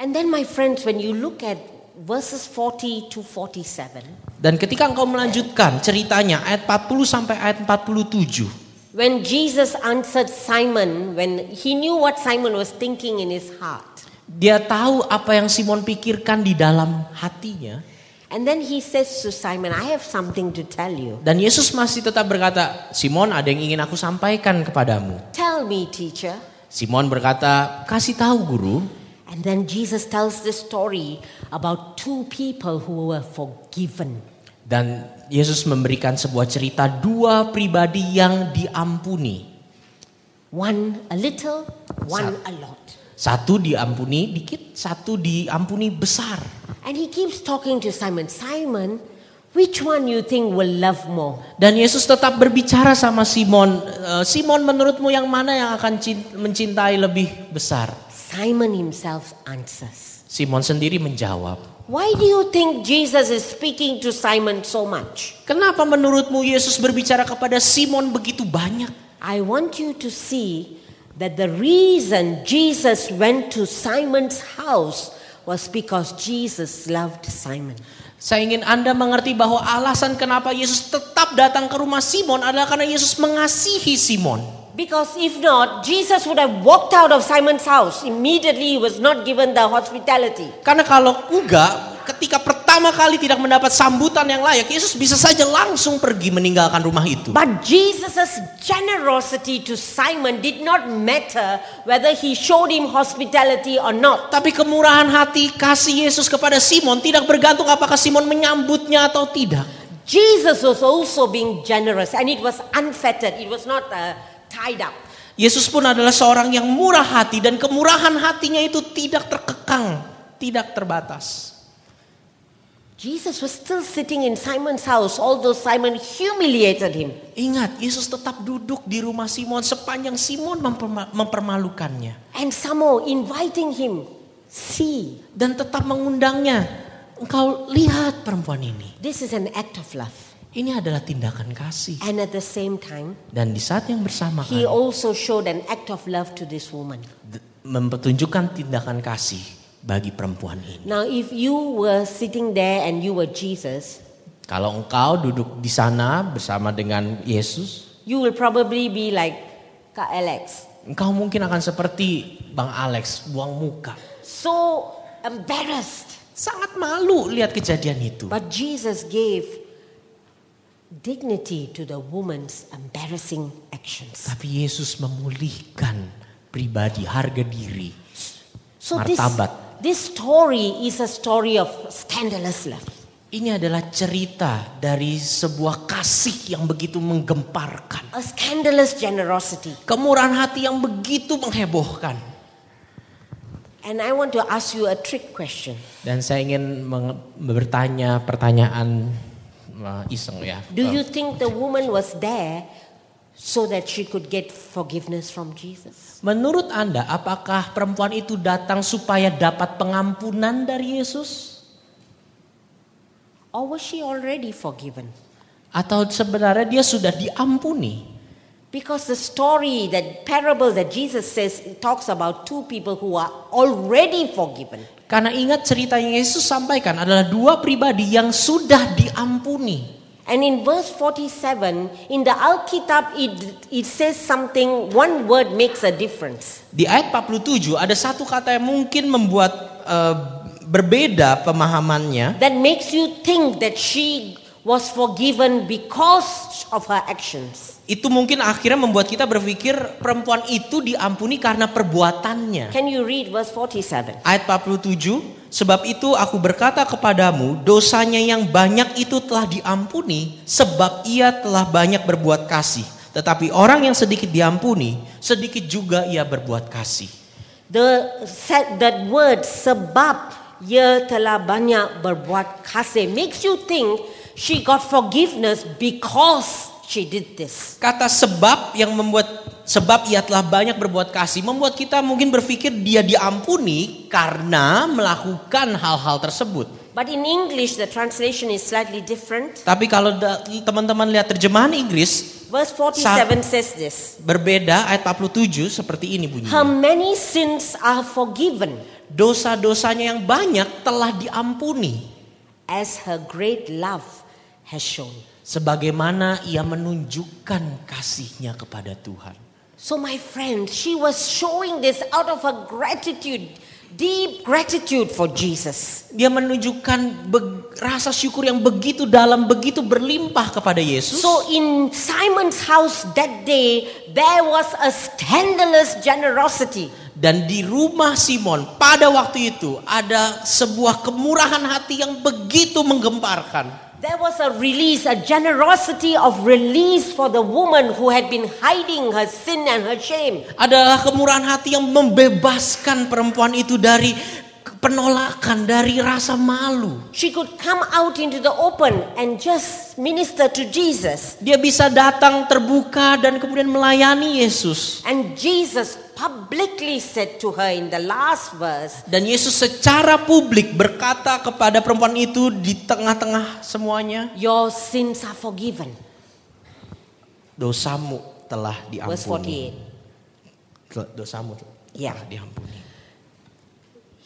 Speaker 2: And then, my friends, when you look at verses 40 to 47,
Speaker 3: Dan ketika engkau melanjutkan ceritanya ayat 40 sampai ayat 47.
Speaker 2: when Jesus answered Simon, when he knew what Simon was thinking in his heart,
Speaker 3: Dia tahu apa yang Simon pikirkan di dalam hatinya.
Speaker 2: and then he says to Simon, I have something to tell you.
Speaker 3: Dan Yesus masih tetap berkata, Simon ada yang ingin aku sampaikan kepadamu.
Speaker 2: Tell me, teacher.
Speaker 3: Simon berkata, kasih tahu guru.
Speaker 2: And then Jesus tells this story about two people who were forgiven.
Speaker 3: Dan Yesus memberikan sebuah cerita dua pribadi yang diampuni.
Speaker 2: One a little, one a lot.
Speaker 3: Satu diampuni dikit, satu diampuni besar.
Speaker 2: And he keeps talking to Simon. Simon, which one you think will love more?
Speaker 3: Dan Yesus tetap berbicara sama Simon. "E, Simon menurutmu yang mana yang akan cin- mencintai lebih besar?
Speaker 2: Simon himself answers.
Speaker 3: Simon sendiri menjawab.
Speaker 2: Why do you think Jesus is speaking to Simon so much?
Speaker 3: Kenapa menurutmu Yesus berbicara kepada Simon begitu banyak?
Speaker 2: I want you to see that the reason Jesus went to Simon's house was because Jesus loved Simon.
Speaker 3: Saya ingin Anda mengerti bahwa alasan kenapa Yesus tetap datang ke rumah Simon adalah karena Yesus mengasihi Simon.
Speaker 2: Because if not, Jesus would have walked out of Simon's house. Immediately, he was not given the hospitality.
Speaker 3: Karena kalau enggak, ketika pertama kali tidak mendapat sambutan yang layak, Yesus bisa saja langsung pergi meninggalkan rumah itu.
Speaker 2: But Jesus' generosity to Simon did not matter whether he showed him hospitality or not.
Speaker 3: Tapi kemurahan hati kasih Yesus kepada Simon tidak bergantung apakah Simon menyambutnya atau tidak.
Speaker 2: Jesus was also being generous and it was unfettered, it was not uh, tied up.
Speaker 3: Yesus pun adalah seorang yang murah hati dan kemurahan hatinya itu tidak terkekang, tidak terbatas.
Speaker 2: Jesus was still sitting in Simon's house, although Simon humiliated him.
Speaker 3: Ingat, Yesus tetap duduk di rumah Simon sepanjang Simon memperma- mempermalukannya
Speaker 2: And somehow inviting him, see,
Speaker 3: dan tetap mengundangnya. Engkau lihat perempuan ini.
Speaker 2: this is an act of love.
Speaker 3: Ini adalah tindakan kasih.
Speaker 2: And at the same time,
Speaker 3: Dan di saat yang bersamaan
Speaker 2: he also showed an act of love to this woman.
Speaker 3: d- kan, mempertunjukkan tindakan kasih bagi perempuan ini.
Speaker 2: Now, if you were sitting there and you were Jesus,
Speaker 3: Kalau engkau duduk di sana bersama dengan Yesus,
Speaker 2: you will probably be like Ka Alex,
Speaker 3: engkau mungkin akan seperti Bang Alex buang muka.
Speaker 2: so embarrassed.
Speaker 3: Sangat malu lihat kejadian itu.
Speaker 2: But Jesus gave dignity to the woman's embarrassing actions.
Speaker 3: Tapi Yesus memulihkan pribadi, harga diri.
Speaker 2: So
Speaker 3: Martabat.
Speaker 2: this this story is a story of scandalous love.
Speaker 3: Ini adalah cerita dari sebuah kasih yang begitu menggemparkan.
Speaker 2: A scandalous generosity.
Speaker 3: Kemurahan hati yang begitu menghebohkan.
Speaker 2: And I want to ask you a trick question.
Speaker 3: Dan saya ingin meng- bertanya pertanyaan uh, iseng ya.
Speaker 2: Do you
Speaker 3: Uh,
Speaker 2: think the woman was there so that she could get forgiveness from Jesus?
Speaker 3: Menurut Anda, apakah perempuan itu datang supaya dapat pengampunan dari Yesus?
Speaker 2: Or was she already forgiven?
Speaker 3: Atau sebenarnya dia sudah diampuni?
Speaker 2: Because the story, that parable that Jesus says, it talks about two people who are already forgiven.
Speaker 3: Karena ingat cerita yang Yesus sampaikan adalah dua pribadi yang sudah diampuni.
Speaker 2: And in verse 47, in the Al-Kitab, it, it says something, one word makes a difference.
Speaker 3: Di ayat 47 ada satu kata yang mungkin membuat eh, berbeda pemahamannya.
Speaker 2: That makes you think that she was forgiven because of her actions.
Speaker 3: Itu mungkin akhirnya membuat kita berpikir perempuan itu diampuni karena perbuatannya.
Speaker 2: Can you read verse 47?
Speaker 3: Ayat 47, sebab itu aku berkata kepadamu, dosanya yang banyak itu telah diampuni sebab ia telah banyak berbuat kasih. Tetapi orang yang sedikit diampuni, sedikit juga ia berbuat kasih.
Speaker 2: The said that word sebab ia telah banyak berbuat kasih makes you think she got forgiveness because she did this.
Speaker 3: Kata sebab yang membuat sebab ia telah banyak berbuat kasih membuat kita mungkin berpikir dia diampuni karena melakukan hal-hal tersebut.
Speaker 2: But in English the translation is slightly different.
Speaker 3: Tapi kalau da- teman-teman lihat terjemahan Inggris
Speaker 2: Verse 47 says this.
Speaker 3: berbeda ayat 47 seperti ini bunyinya.
Speaker 2: Her many sins are forgiven
Speaker 3: dosa-dosanya yang banyak telah diampuni
Speaker 2: as her great love has shown.
Speaker 3: sebagaimana ia menunjukkan kasihnya kepada Tuhan.
Speaker 2: So my friend, she was showing this out of her gratitude, deep gratitude for Jesus.
Speaker 3: Dia menunjukkan be- rasa syukur yang begitu dalam, begitu berlimpah kepada Yesus.
Speaker 2: So in Simon's house that day, there was a scandalous generosity.
Speaker 3: Dan di rumah Simon pada waktu itu ada sebuah kemurahan hati yang begitu menggemparkan.
Speaker 2: There was a release, a generosity of release for the woman who had been hiding her sin and her shame.
Speaker 3: Adalah kemurahan hati yang membebaskan perempuan itu dari penolakan, dari rasa malu.
Speaker 2: She could come out into the open and just minister to Jesus.
Speaker 3: Dia bisa datang terbuka dan kemudian melayani Yesus.
Speaker 2: And Jesus publicly said to her in the last verse,
Speaker 3: Dan Yesus secara publik berkata kepada perempuan itu di tengah-tengah semuanya,
Speaker 2: Your sins are forgiven.
Speaker 3: dosamu telah
Speaker 2: Verse
Speaker 3: diampuni.
Speaker 2: 48.
Speaker 3: Tel- Dosamu telah
Speaker 2: Ya.
Speaker 3: diampuni.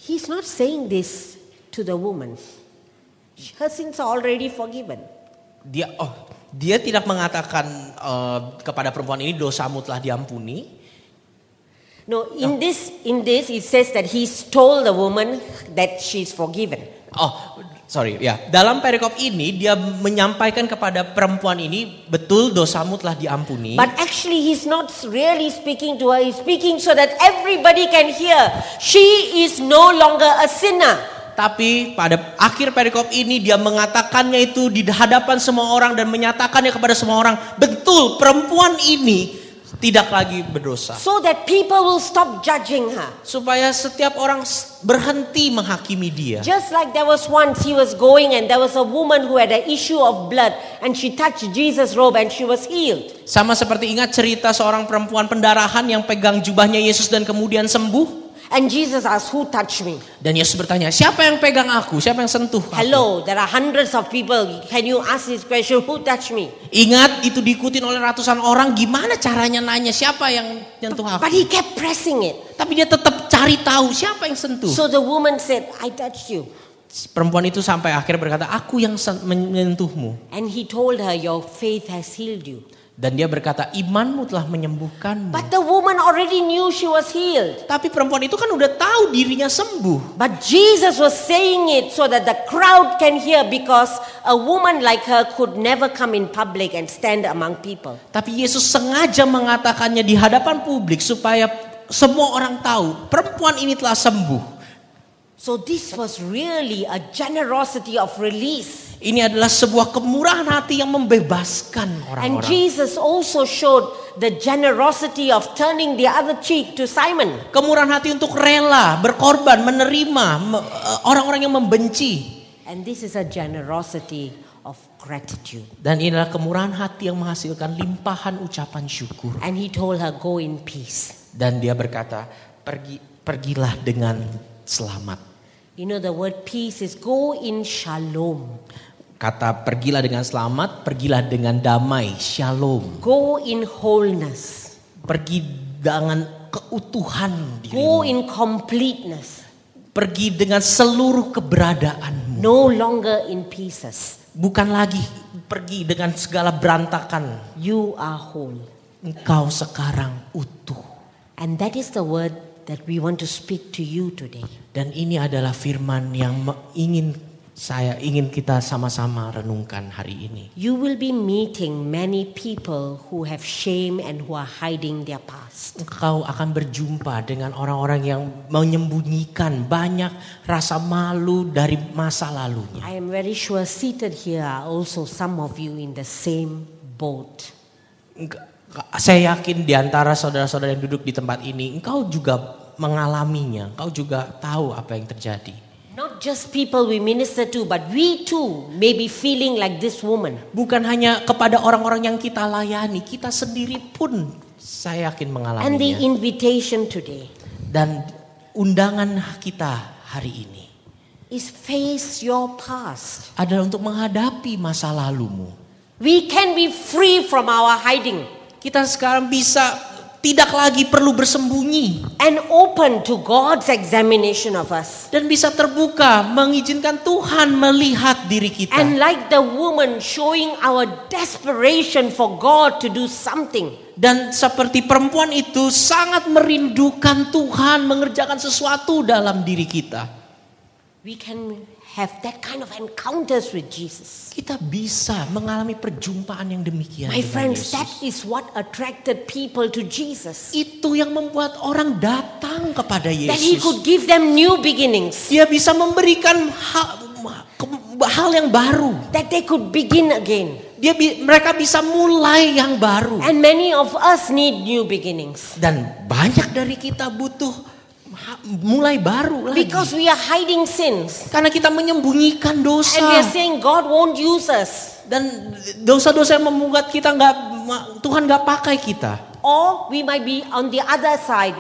Speaker 2: He's not saying this to the woman. Her sins are already forgiven.
Speaker 3: Dia oh, dia tidak mengatakan eh, kepada perempuan ini dosamu telah diampuni.
Speaker 2: No, in this in this it says that he told the woman that she's forgiven.
Speaker 3: Oh, sorry ya. Dalam perikop ini dia menyampaikan kepada perempuan ini betul dosamu telah diampuni.
Speaker 2: But actually he's not really speaking to her. He's speaking so that everybody can hear. She is no longer a sinner.
Speaker 3: Tapi pada akhir perikop ini dia mengatakannya itu di hadapan semua orang dan menyatakannya kepada semua orang, betul perempuan ini tidak lagi berdosa.
Speaker 2: So that people will stop judging her.
Speaker 3: Supaya setiap orang s- berhenti menghakimi dia.
Speaker 2: Just like there was once he was going and there was a woman who had an issue of blood and she touched Jesus' robe and she was healed.
Speaker 3: Sama seperti ingat cerita seorang perempuan pendarahan yang pegang jubahnya Yesus dan kemudian sembuh.
Speaker 2: And Jesus asked, Who touched me?
Speaker 3: Dan Yesus bertanya, siapa yang pegang aku? Siapa yang sentuh aku?
Speaker 2: Hello, there are hundreds of people. Can you ask this question? Who touched me?
Speaker 3: Ingat itu diikutin oleh ratusan orang. Gimana caranya nanya siapa yang nyentuh aku?
Speaker 2: But he kept pressing it.
Speaker 3: Tapi dia tetap cari tahu siapa yang sentuh.
Speaker 2: So the woman said, I touched you.
Speaker 3: Perempuan itu sampai akhirnya berkata, "Aku yang sen- menyentuhmu."
Speaker 2: And he told her, Your faith has healed you.
Speaker 3: Dan dia berkata, "Imanmu telah menyembuhkanmu."
Speaker 2: But the woman already knew she was healed.
Speaker 3: Tapi perempuan itu kan udah tahu dirinya sembuh.
Speaker 2: But Jesus was saying it so that the crowd can hear because a woman like her could never come in public and stand among people.
Speaker 3: Tapi Yesus sengaja mengatakannya di hadapan publik supaya semua orang tahu perempuan ini telah sembuh.
Speaker 2: So this was really a generosity of release.
Speaker 3: Ini adalah sebuah kemurahan hati yang membebaskan
Speaker 2: And
Speaker 3: orang-orang.
Speaker 2: Jesus also showed the generosity of turning the other cheek to Simon.
Speaker 3: Kemurahan hati untuk rela, berkorban, menerima me- eh, orang-orang yang membenci.
Speaker 2: And this is a generosity of gratitude.
Speaker 3: Dan inilah kemurahan hati yang menghasilkan limpahan ucapan syukur.
Speaker 2: And he told her, Go in peace.
Speaker 3: Dan dia berkata, pergi pergilah dengan selamat.
Speaker 2: You know, the word peace is go in shalom,
Speaker 3: Kata pergilah dengan selamat, pergilah dengan damai, shalom.
Speaker 2: go in wholeness,
Speaker 3: Pergi dengan
Speaker 2: go
Speaker 3: keutuhan dirimu.
Speaker 2: in completeness,
Speaker 3: Pergi dengan seluruh keberadaanmu.
Speaker 2: no longer in pieces.
Speaker 3: Bukan lagi pergi dengan segala berantakan.
Speaker 2: You are whole.
Speaker 3: Engkau sekarang utuh.
Speaker 2: And that is the word that we want to speak to you today.
Speaker 3: Dan ini adalah firman yang me- ingin saya ingin kita sama-sama renungkan hari ini.
Speaker 2: You will be meeting many people who have shame and who are hiding their past.
Speaker 3: Engkau akan berjumpa dengan orang-orang yang menyembunyikan banyak rasa malu dari masa lalunya.
Speaker 2: I am very sure seated here are also some of you in the same boat.
Speaker 3: Engka- Saya yakin di antara saudara-saudara yang duduk di tempat ini, engkau juga mengalaminya, engkau juga tahu apa yang terjadi.
Speaker 2: Not just people we minister to, but we too may be feeling like this woman.
Speaker 3: Bukan hanya kepada orang-orang yang kita layani, kita sendiri pun saya
Speaker 2: And
Speaker 3: yakin
Speaker 2: the
Speaker 3: mengalaminya.
Speaker 2: invitation today
Speaker 3: Dan undangan kita hari ini
Speaker 2: is face your past.
Speaker 3: adalah untuk menghadapi masa lalumu.
Speaker 2: We can be free from our hiding
Speaker 3: Kita sekarang bisa tidak lagi perlu bersembunyi
Speaker 2: and open to God's examination of us.
Speaker 3: dan bisa terbuka mengizinkan Tuhan melihat diri kita.
Speaker 2: And like the woman showing our desperation for God to do something,
Speaker 3: dan seperti perempuan itu sangat merindukan Tuhan mengerjakan sesuatu dalam diri kita.
Speaker 2: we can have that kind of encounters with Jesus.
Speaker 3: Kita bisa mengalami perjumpaan yang demikian.
Speaker 2: My
Speaker 3: dengan
Speaker 2: friends,
Speaker 3: Yesus.
Speaker 2: that is what attracted people to Jesus.
Speaker 3: itu yang membuat orang datang kepada
Speaker 2: That he could
Speaker 3: Yesus.
Speaker 2: give them new beginnings.
Speaker 3: Dia bisa memberikan hal, hal yang baru.
Speaker 2: that they could begin again.
Speaker 3: Dia bi- mereka bisa mulai yang baru.
Speaker 2: And many of us need new beginnings
Speaker 3: Dan banyak dari kita butuh ha- mulai baru lagi.
Speaker 2: because we are hiding sins.
Speaker 3: Karena kita menyembunyikan
Speaker 2: And we are
Speaker 3: dosa
Speaker 2: saying God won't use us.
Speaker 3: dan dosa-dosa yang membuat kita nggak ma- Tuhan nggak pakai kita.
Speaker 2: Or we might be on the other side.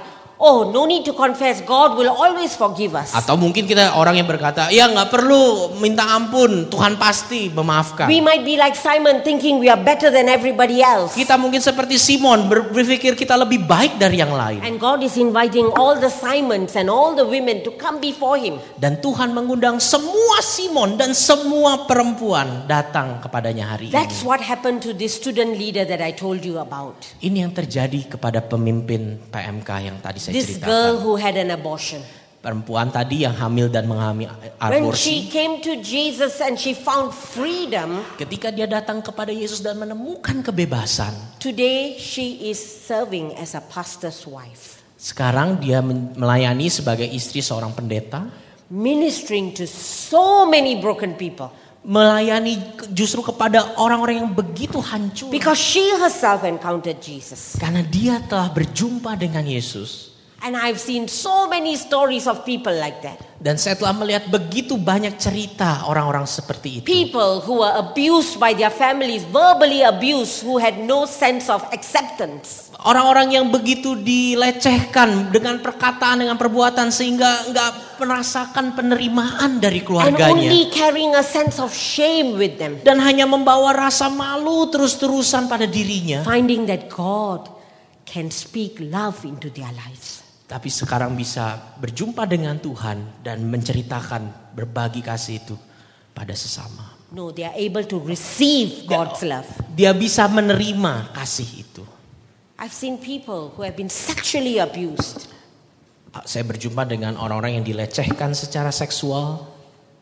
Speaker 2: Oh, no need to confess. God will always forgive us.
Speaker 3: Atau mungkin kita orang yang berkata, ya nggak perlu minta ampun, Tuhan pasti memaafkan.
Speaker 2: We might be like Simon thinking we are better than everybody else.
Speaker 3: Kita mungkin seperti Simon ber- berpikir kita lebih baik dari yang lain.
Speaker 2: And God is inviting all the Simons and all the women to come before him.
Speaker 3: Dan Tuhan mengundang semua Simon dan semua perempuan datang kepadanya hari ini.
Speaker 2: That's what happened to this student leader that I told you about.
Speaker 3: Ini yang terjadi kepada pemimpin PMK yang tadi saya
Speaker 2: This girl
Speaker 3: ceritakan.
Speaker 2: who had an abortion.
Speaker 3: Perempuan tadi yang hamil dan mengalami
Speaker 2: When she
Speaker 3: aborsi.
Speaker 2: came to Jesus and she found freedom,
Speaker 3: Ketika dia datang kepada Yesus dan menemukan kebebasan,
Speaker 2: today she is serving as a pastor's wife,
Speaker 3: sekarang dia men- melayani sebagai istri seorang pendeta,
Speaker 2: ministering to so many broken people
Speaker 3: melayani ke- justru kepada orang-orang yang begitu hancur.
Speaker 2: because she herself encountered Jesus.
Speaker 3: Karena dia telah berjumpa dengan Yesus
Speaker 2: And I've seen so many stories of people like that.
Speaker 3: dan saya telah melihat begitu banyak cerita orang-orang seperti itu.
Speaker 2: People who were abused by their families, verbally abused, who had no sense of acceptance.
Speaker 3: Orang-orang yang begitu dilecehkan dengan perkataan dengan perbuatan sehingga nggak merasakan penerimaan dari
Speaker 2: And
Speaker 3: keluarganya
Speaker 2: only carrying a sense of shame with them.
Speaker 3: dan hanya membawa rasa malu terus-terusan pada dirinya.
Speaker 2: Finding that God can speak love into their lives.
Speaker 3: Tapi sekarang bisa berjumpa dengan Tuhan dan menceritakan berbagi kasih itu pada sesama.
Speaker 2: No, they are able to receive God's love.
Speaker 3: Dia bisa menerima kasih itu.
Speaker 2: I've seen people who have been sexually abused
Speaker 3: Saya berjumpa dengan orang-orang yang dilecehkan secara seksual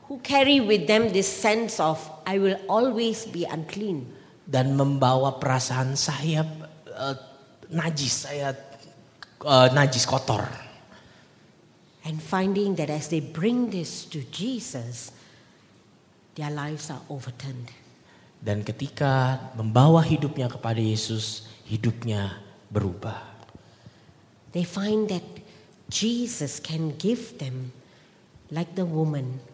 Speaker 2: who carry with them this sense of, I will always be unclean.
Speaker 3: dan membawa perasaan saya eh, najis, saya eh, najis kotor.
Speaker 2: And finding that as they bring this to Jesus, their lives are overturned.
Speaker 3: Dan ketika membawa hidupnya kepada Yesus, hidupnya berubah.
Speaker 2: They find that Jesus can give them, like the woman,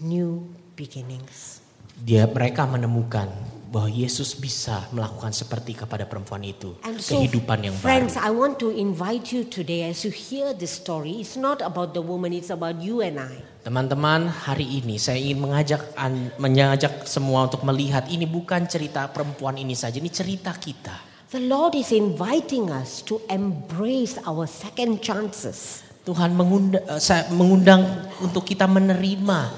Speaker 2: new beginnings.
Speaker 3: Dia mereka menemukan bahwa Yesus bisa melakukan seperti kepada perempuan itu,
Speaker 2: And so,
Speaker 3: kehidupan yang
Speaker 2: friends, uh,
Speaker 3: baru.
Speaker 2: I want to invite you today as you hear this story. It's not about the woman, it's about you and I.
Speaker 3: Teman-teman, hari ini saya ingin mengajak an- mengajak semua untuk melihat ini bukan cerita perempuan ini saja, ini cerita kita.
Speaker 2: The Lord is inviting us to embrace our second chances.
Speaker 3: Tuhan mengundang, saya mengundang untuk kita menerima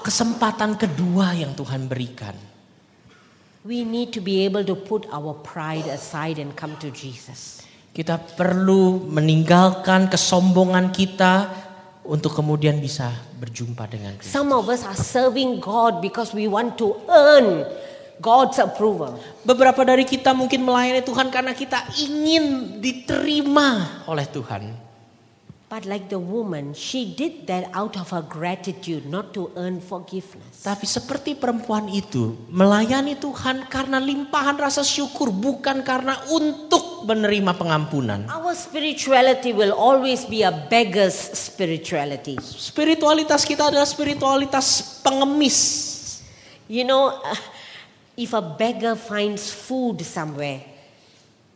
Speaker 3: kesempatan kedua yang Tuhan berikan.
Speaker 2: We need to be able to put our pride aside and come to Jesus.
Speaker 3: Kita perlu meninggalkan kesombongan kita untuk kemudian bisa berjumpa dengan Kristus.
Speaker 2: Some of us are serving God because we want to earn God's approval.
Speaker 3: Beberapa dari kita mungkin melayani Tuhan karena kita ingin diterima oleh Tuhan.
Speaker 2: But like the woman, she did that out of her gratitude, not to earn forgiveness.
Speaker 3: Tapi seperti perempuan itu melayani Tuhan karena limpahan rasa syukur bukan karena untuk menerima pengampunan.
Speaker 2: Our spirituality will always be a beggar's spirituality.
Speaker 3: Spiritualitas kita adalah spiritualitas pengemis.
Speaker 2: You know, if a beggar finds food somewhere,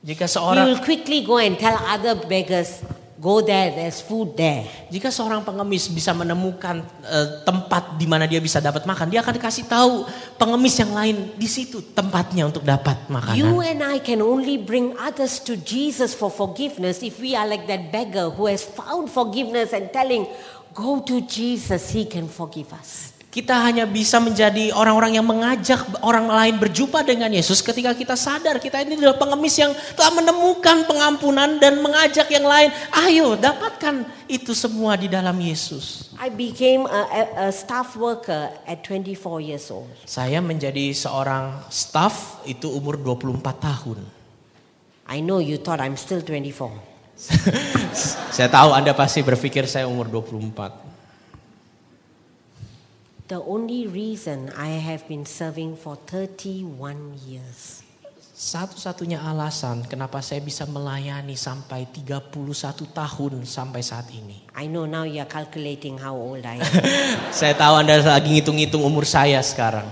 Speaker 3: Jika
Speaker 2: he will
Speaker 3: seorang
Speaker 2: quickly go and tell other beggars, go there, there's food there.
Speaker 3: jika seorang pengemis bisa menemukan eh, tempat di mana dia bisa dapat makan, dia akan kasih tahu pengemis yang lain di situ tempatnya untuk dapat
Speaker 2: You
Speaker 3: makanan.
Speaker 2: and I can only bring others to Jesus for forgiveness if we are like that beggar who has found forgiveness and telling, Go to Jesus, He can forgive us.
Speaker 3: Kita hanya bisa menjadi orang-orang yang mengajak orang lain berjumpa dengan Yesus ketika kita sadar kita ini adalah pengemis yang telah menemukan pengampunan dan mengajak yang lain, ayo dapatkan itu semua di dalam Yesus.
Speaker 2: I became a, a, a staff worker at 24 years old.
Speaker 3: Saya menjadi seorang staff itu umur 24 tahun.
Speaker 2: I know you thought I'm still 24.
Speaker 3: saya tahu Anda pasti berpikir saya umur 24.
Speaker 2: The only reason I have been serving for 31 years
Speaker 3: Satu-satunya alasan kenapa saya bisa melayani sampai 31 tahun sampai saat ini.
Speaker 2: I know now you're calculating how old I am.
Speaker 3: Saya tahu Anda lagi ngitung-ngitung umur saya sekarang.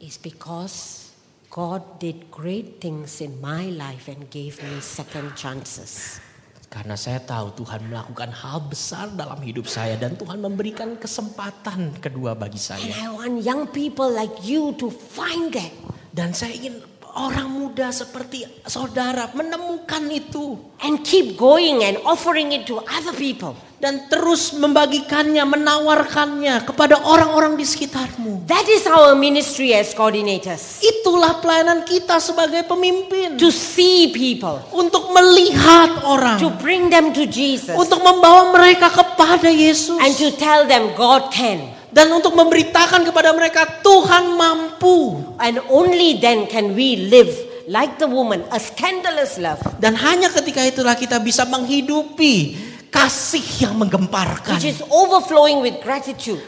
Speaker 2: It's because God did great things in my life and gave me second chances.
Speaker 3: Karena saya tahu Tuhan melakukan hal besar dalam hidup saya dan Tuhan memberikan kesempatan kedua bagi
Speaker 2: And I
Speaker 3: saya.
Speaker 2: want young people like you to find that.
Speaker 3: Dan saya ingin orang muda seperti saudara menemukan itu.
Speaker 2: And keep going and offering it to other people.
Speaker 3: dan terus membagikannya, menawarkannya kepada orang-orang di sekitarmu.
Speaker 2: That is our ministry as coordinators.
Speaker 3: Itulah pelayanan kita sebagai pemimpin
Speaker 2: To see people,
Speaker 3: untuk melihat orang,
Speaker 2: to bring them to Jesus,
Speaker 3: untuk membawa mereka kepada Yesus
Speaker 2: and to tell them God can.
Speaker 3: dan untuk memberitakan kepada mereka Tuhan mampu.
Speaker 2: And only then can we live like the woman, a scandalous love,
Speaker 3: Dan hanya ketika itulah kita bisa menghidupi kasih yang menggemparkan,
Speaker 2: which is overflowing with gratitude,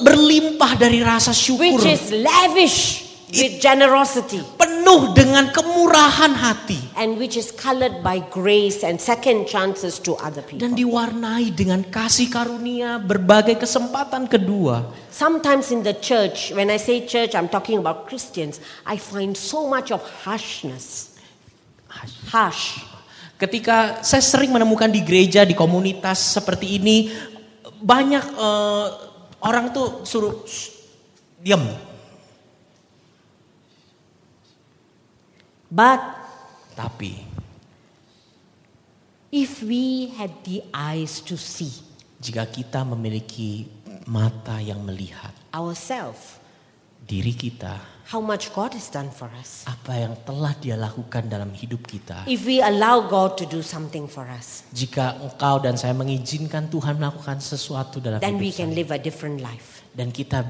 Speaker 3: berlimpah dari rasa syukur,
Speaker 2: which is lavish with generosity,
Speaker 3: penuh dengan kemurahan hati.
Speaker 2: and which is colored by grace and second chances to other
Speaker 3: dan
Speaker 2: people.
Speaker 3: diwarnai dengan kasih karunia berbagai kesempatan kedua.
Speaker 2: Sometimes in the church, when I say church, I'm talking about Christians, I find so much of harshness. Harsh.
Speaker 3: Ketika saya sering menemukan di gereja, di komunitas seperti ini, banyak eh, orang tuh suruh "Shh, diam.
Speaker 2: But
Speaker 3: Tapi
Speaker 2: if we had the eyes to see
Speaker 3: jika kita memiliki mata yang melihat
Speaker 2: ourselves,
Speaker 3: diri kita,
Speaker 2: how much God has done for us.
Speaker 3: apa yang telah dia lakukan dalam hidup kita.
Speaker 2: If we allow God to do something for us,
Speaker 3: Jika engkau dan saya mengizinkan Tuhan melakukan sesuatu dalam
Speaker 2: then we
Speaker 3: hidup
Speaker 2: can
Speaker 3: saya,
Speaker 2: live a different life.
Speaker 3: dan kita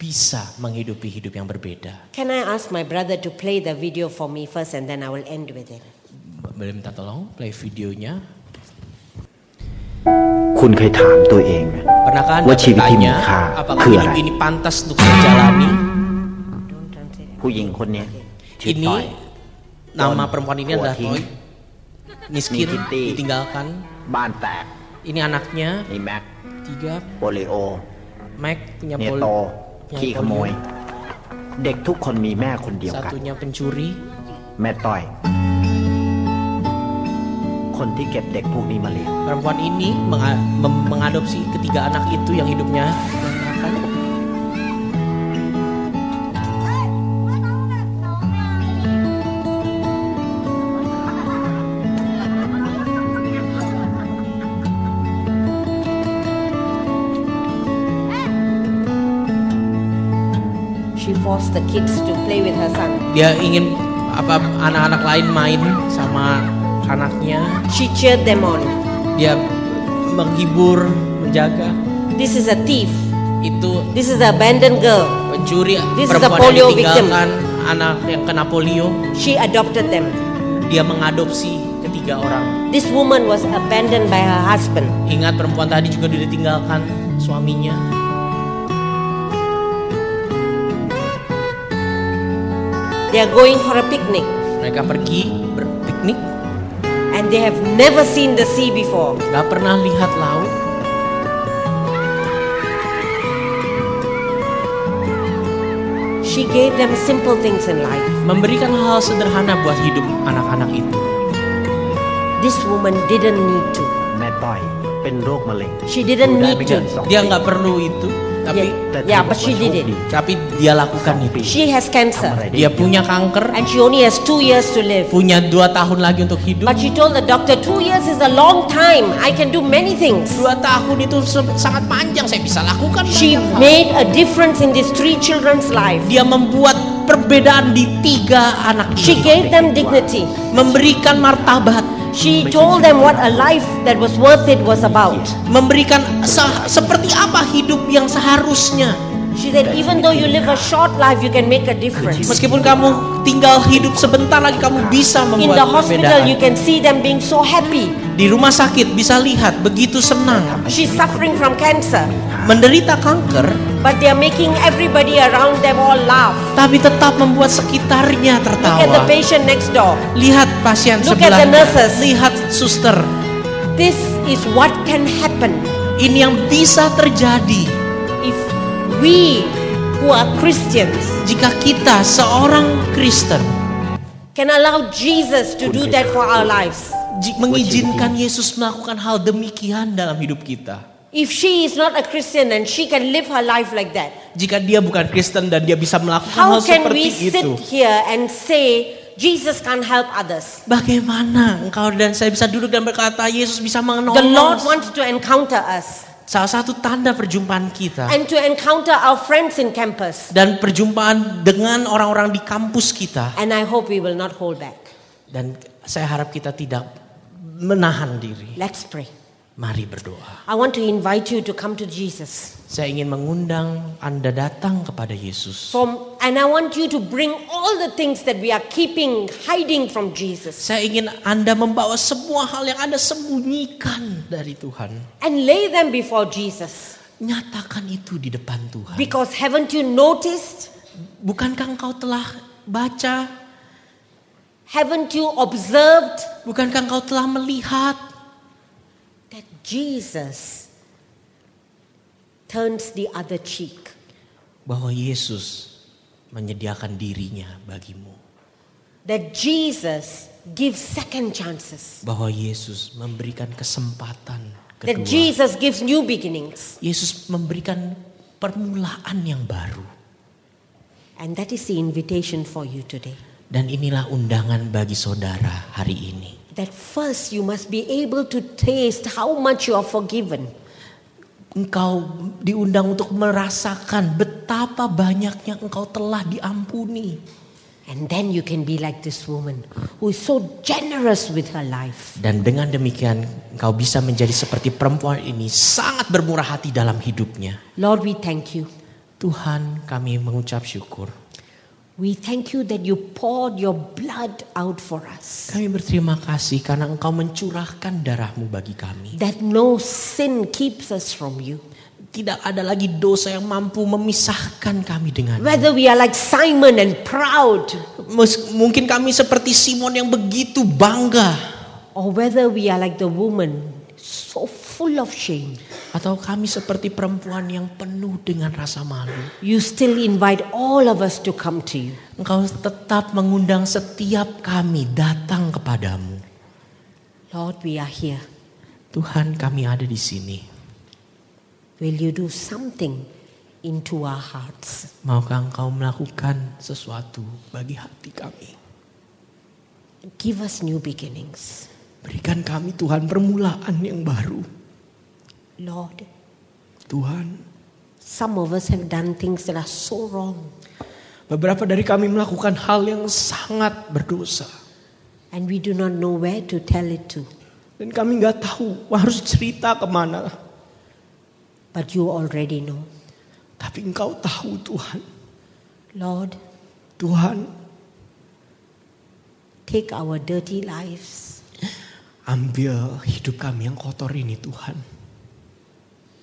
Speaker 3: bisa menghidupi hidup yang berbeda.
Speaker 2: Can I ask my brother to play the video for me first and then I will end with it?
Speaker 3: boleh minta tolong play videonya.
Speaker 9: คุณเคยถามตัวเองไหม
Speaker 3: Pernah dikatakan dan
Speaker 9: Wajib
Speaker 3: bertanya
Speaker 9: timka,
Speaker 3: apakah
Speaker 9: kera.
Speaker 3: hidup ini pantas untuk saya jalani
Speaker 9: ผู้หญิงคนเนี้ยชื่อ
Speaker 3: ini
Speaker 9: ต้อย
Speaker 3: nama perempuan ini adalah
Speaker 9: Wati.
Speaker 3: Toy miskin
Speaker 9: Nikiti.
Speaker 3: ditinggalkan
Speaker 9: บ้านแตก
Speaker 3: ini anaknya
Speaker 9: ไอ้แม็ก
Speaker 3: tiga
Speaker 9: โปลิโอ
Speaker 3: Mac punya
Speaker 9: เนย
Speaker 3: pol
Speaker 9: โต
Speaker 3: punya
Speaker 9: ขี้ขโม
Speaker 3: polio,
Speaker 9: ย เด็กทุกคนมีแม่คนเดียวกัน
Speaker 3: satunya pencuri
Speaker 9: แม่ต้อย คนที่เก็บเด็กพวกนี้มาเลี้ยง
Speaker 3: perempuan ini menga- mem- mengadopsi ketiga anak itu yang hidupnya berantakan.
Speaker 2: She forced the kids to play with her son.
Speaker 3: dia ingin apa anak-anak lain main sama anaknya
Speaker 2: She cheered them on.
Speaker 3: dia menghibur menjaga
Speaker 2: This is a thief.
Speaker 3: itu
Speaker 2: This is an abandoned girl.
Speaker 3: pencuri
Speaker 2: This is
Speaker 3: perempuan
Speaker 2: a polio
Speaker 3: yang ditinggalkan anak yang kena polio
Speaker 2: She adopted them.
Speaker 3: dia mengadopsi ketiga orang
Speaker 2: This woman was abandoned by her husband.
Speaker 3: ingat perempuan tadi juga ditinggalkan suaminya
Speaker 2: They are going for a picnic
Speaker 3: mereka pergi berpiknik
Speaker 2: and they have never seen the sea before.
Speaker 3: nggak pernah lihat laut
Speaker 2: She gave them simple things in life.
Speaker 3: memberikan hal sederhana buat hidup anak-anak itu
Speaker 2: This woman didn't need to.
Speaker 9: แม่ต้อย เป็นโรคมะเร็ง
Speaker 2: She didn't
Speaker 9: อยู่ได้
Speaker 2: need
Speaker 9: ไม่
Speaker 2: to.
Speaker 9: เกินสอง
Speaker 3: dia
Speaker 9: ปี
Speaker 3: nggak perlu itu tapi
Speaker 2: Yeah,
Speaker 9: แต่
Speaker 2: yeah, but she did it.
Speaker 3: tapi dia lakukan itu
Speaker 2: She has
Speaker 9: ทำอะไร
Speaker 2: cancer
Speaker 9: ได้
Speaker 3: dia punya kanker
Speaker 2: and she only has two years to live.
Speaker 3: punya dua tahun lagi untuk hidup.
Speaker 2: But she told the doctor, two years is a long time. I can do many things.
Speaker 3: Dua tahun itu se- sangat panjang. Saya bisa lakukan.
Speaker 2: She
Speaker 3: banyak hal.
Speaker 2: made a difference in these three children's life.
Speaker 3: Dia membuat perbedaan di tiga anak
Speaker 2: She
Speaker 3: ini.
Speaker 2: gave them dignity.
Speaker 3: Memberikan martabat.
Speaker 2: She told them what a life that was worth it was about.
Speaker 3: Memberikan se- seperti apa hidup yang seharusnya.
Speaker 2: She said, even though you live a short life, you can make a difference.
Speaker 3: Meskipun kamu tinggal hidup sebentar lagi, kamu bisa
Speaker 2: In the
Speaker 3: membuat
Speaker 2: hospital, you
Speaker 3: perbedaan.
Speaker 2: can see them being so happy.
Speaker 3: Di rumah sakit bisa lihat begitu senang.
Speaker 2: She's suffering from cancer,
Speaker 3: Menderita kanker,
Speaker 2: but they are making everybody around them all laugh.
Speaker 3: tapi tetap membuat sekitarnya
Speaker 2: Look at the
Speaker 3: tertawa.
Speaker 2: patient next door.
Speaker 3: Lihat pasien
Speaker 2: Look at the
Speaker 3: sebelah.
Speaker 2: nurses.
Speaker 3: Lihat suster.
Speaker 2: This is what can happen
Speaker 3: Ini yang bisa terjadi
Speaker 2: if we who are Christians
Speaker 3: jika kita seorang Kristen
Speaker 2: can allow Jesus to do that for our lives.
Speaker 3: ji- mengizinkan Yesus melakukan hal demikian dalam hidup kita.
Speaker 2: If she is not a Christian and she can live her life like that,
Speaker 3: Jika dia bukan Kristen dan dia bisa melakukan
Speaker 2: how
Speaker 3: hal
Speaker 2: can we
Speaker 3: seperti
Speaker 2: sit
Speaker 3: itu,
Speaker 2: here and say Jesus can't help others?
Speaker 3: bagaimana engkau dan saya bisa duduk dan berkata Yesus bisa
Speaker 2: The Lord
Speaker 3: menolong?
Speaker 2: wants to encounter us
Speaker 3: Salah satu tanda perjumpaan kita
Speaker 2: and to encounter our friends in campus.
Speaker 3: dan perjumpaan dengan orang-orang di kampus kita
Speaker 2: And I hope we will not hold back.
Speaker 3: dan saya harap kita tidak menahan diri.
Speaker 2: Let's pray.
Speaker 3: Mari berdoa.
Speaker 2: I want to invite you to come to Jesus.
Speaker 3: Saya ingin mengundang Anda datang kepada Yesus.
Speaker 2: From, and I want you to bring all the things that we are keeping, hiding from Jesus,
Speaker 3: Saya ingin Anda membawa semua hal yang Anda sembunyikan dari Tuhan.
Speaker 2: and lay them before Jesus.
Speaker 3: Nyatakan itu di depan Tuhan.
Speaker 2: Because haven't you noticed?
Speaker 3: Bukankah engkau telah baca?
Speaker 2: Haven't you observed
Speaker 3: Bukankah engkau telah melihat
Speaker 2: that Jesus turns the other cheek?
Speaker 3: bahwa Yesus menyediakan dirinya bagimu?
Speaker 2: That Jesus gives second chances.
Speaker 3: Bahwa Yesus memberikan kesempatan
Speaker 2: That
Speaker 3: kedua.
Speaker 2: Jesus gives new beginnings.
Speaker 3: Yesus memberikan permulaan yang baru.
Speaker 2: And that is the invitation for you today.
Speaker 3: Dan inilah undangan bagi saudara hari ini.
Speaker 2: That first you must be able to taste how much you are forgiven.
Speaker 3: Engkau diundang untuk merasakan betapa banyaknya engkau telah diampuni.
Speaker 2: And then you can be like this woman who is so generous with her life.
Speaker 3: Dan dengan demikian engkau bisa menjadi seperti perempuan ini sangat bermurah hati dalam hidupnya.
Speaker 2: Lord, we thank you.
Speaker 3: Tuhan kami mengucap syukur.
Speaker 2: We thank you that you poured your blood out for us.
Speaker 3: Kami berterima kasih karena engkau mencurahkan darahmu bagi kami.
Speaker 2: That no sin keeps us from you.
Speaker 3: Tidak ada lagi dosa yang mampu memisahkan kami dengan.
Speaker 2: Whether we are like Simon and proud,
Speaker 3: Mes- Mungkin kami seperti Simon yang begitu bangga.
Speaker 2: or whether we are like the woman, so full of shame,
Speaker 3: Atau kami seperti perempuan yang penuh dengan rasa malu.
Speaker 2: you still invite all of us to come to you.
Speaker 3: Engkau tetap mengundang setiap kami datang kepadamu.
Speaker 2: Lord, we are here.
Speaker 3: Tuhan kami ada di sini.
Speaker 2: Will you do something into our hearts?
Speaker 3: Maukah engkau melakukan sesuatu bagi hati kami?
Speaker 2: Give us new beginnings.
Speaker 3: Berikan kami Tuhan permulaan yang baru.
Speaker 2: Lord,
Speaker 3: Tuhan,
Speaker 2: some of us have done things that are so wrong,
Speaker 3: beberapa dari kami melakukan hal yang sangat berdosa.
Speaker 2: and we do not know where to tell it to.
Speaker 3: Dan kami nggak tahu harus cerita kemana.
Speaker 2: But you already know.
Speaker 3: Tapi engkau tahu Tuhan.
Speaker 2: Lord,
Speaker 3: Tuhan,
Speaker 2: take our dirty lives,
Speaker 3: ambil hidup kami yang kotor ini Tuhan.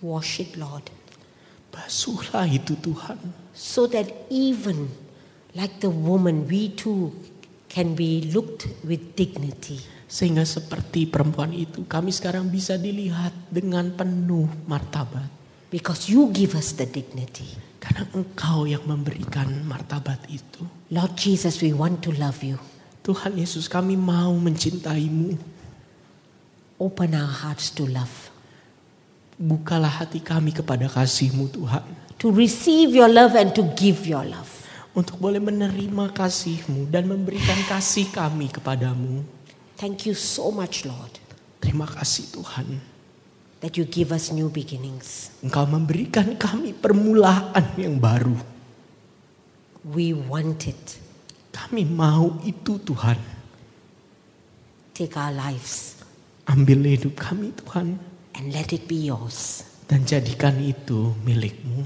Speaker 2: wash it, Lord,
Speaker 3: Basuhlah itu Tuhan.
Speaker 2: so that even like the woman, we too can be looked with dignity.
Speaker 3: Sehingga seperti perempuan itu kami sekarang bisa dilihat dengan penuh martabat.
Speaker 2: Because you give us the dignity.
Speaker 3: Karena engkau yang memberikan martabat itu.
Speaker 2: Lord Jesus, we want to love you.
Speaker 3: Tuhan Yesus kami mau mencintaimu.
Speaker 2: Open our hearts to love,
Speaker 3: Bukalah hati kami kepada kasihmu Tuhan.
Speaker 2: to receive your love and to give your love.
Speaker 3: Untuk boleh menerima kasihmu dan memberikan kasih kami kepadamu.
Speaker 2: Thank you so much, Lord,
Speaker 3: Terima kasih Tuhan.
Speaker 2: that you give us new beginnings.
Speaker 3: Engkau memberikan kami permulaan yang baru.
Speaker 2: We want it.
Speaker 3: Kami mau itu Tuhan.
Speaker 2: Take our lives
Speaker 3: Ambil hidup kami Tuhan.
Speaker 2: and let it be yours.
Speaker 3: Dan jadikan itu milikmu.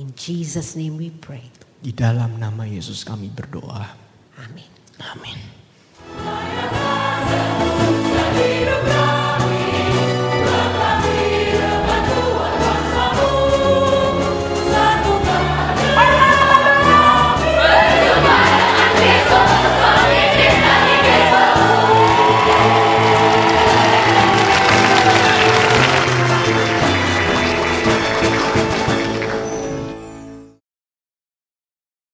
Speaker 2: In Jesus' name we pray.
Speaker 3: Di dalam nama Yesus kami berdoa.
Speaker 2: Amen.
Speaker 3: Amin.
Speaker 5: Amen.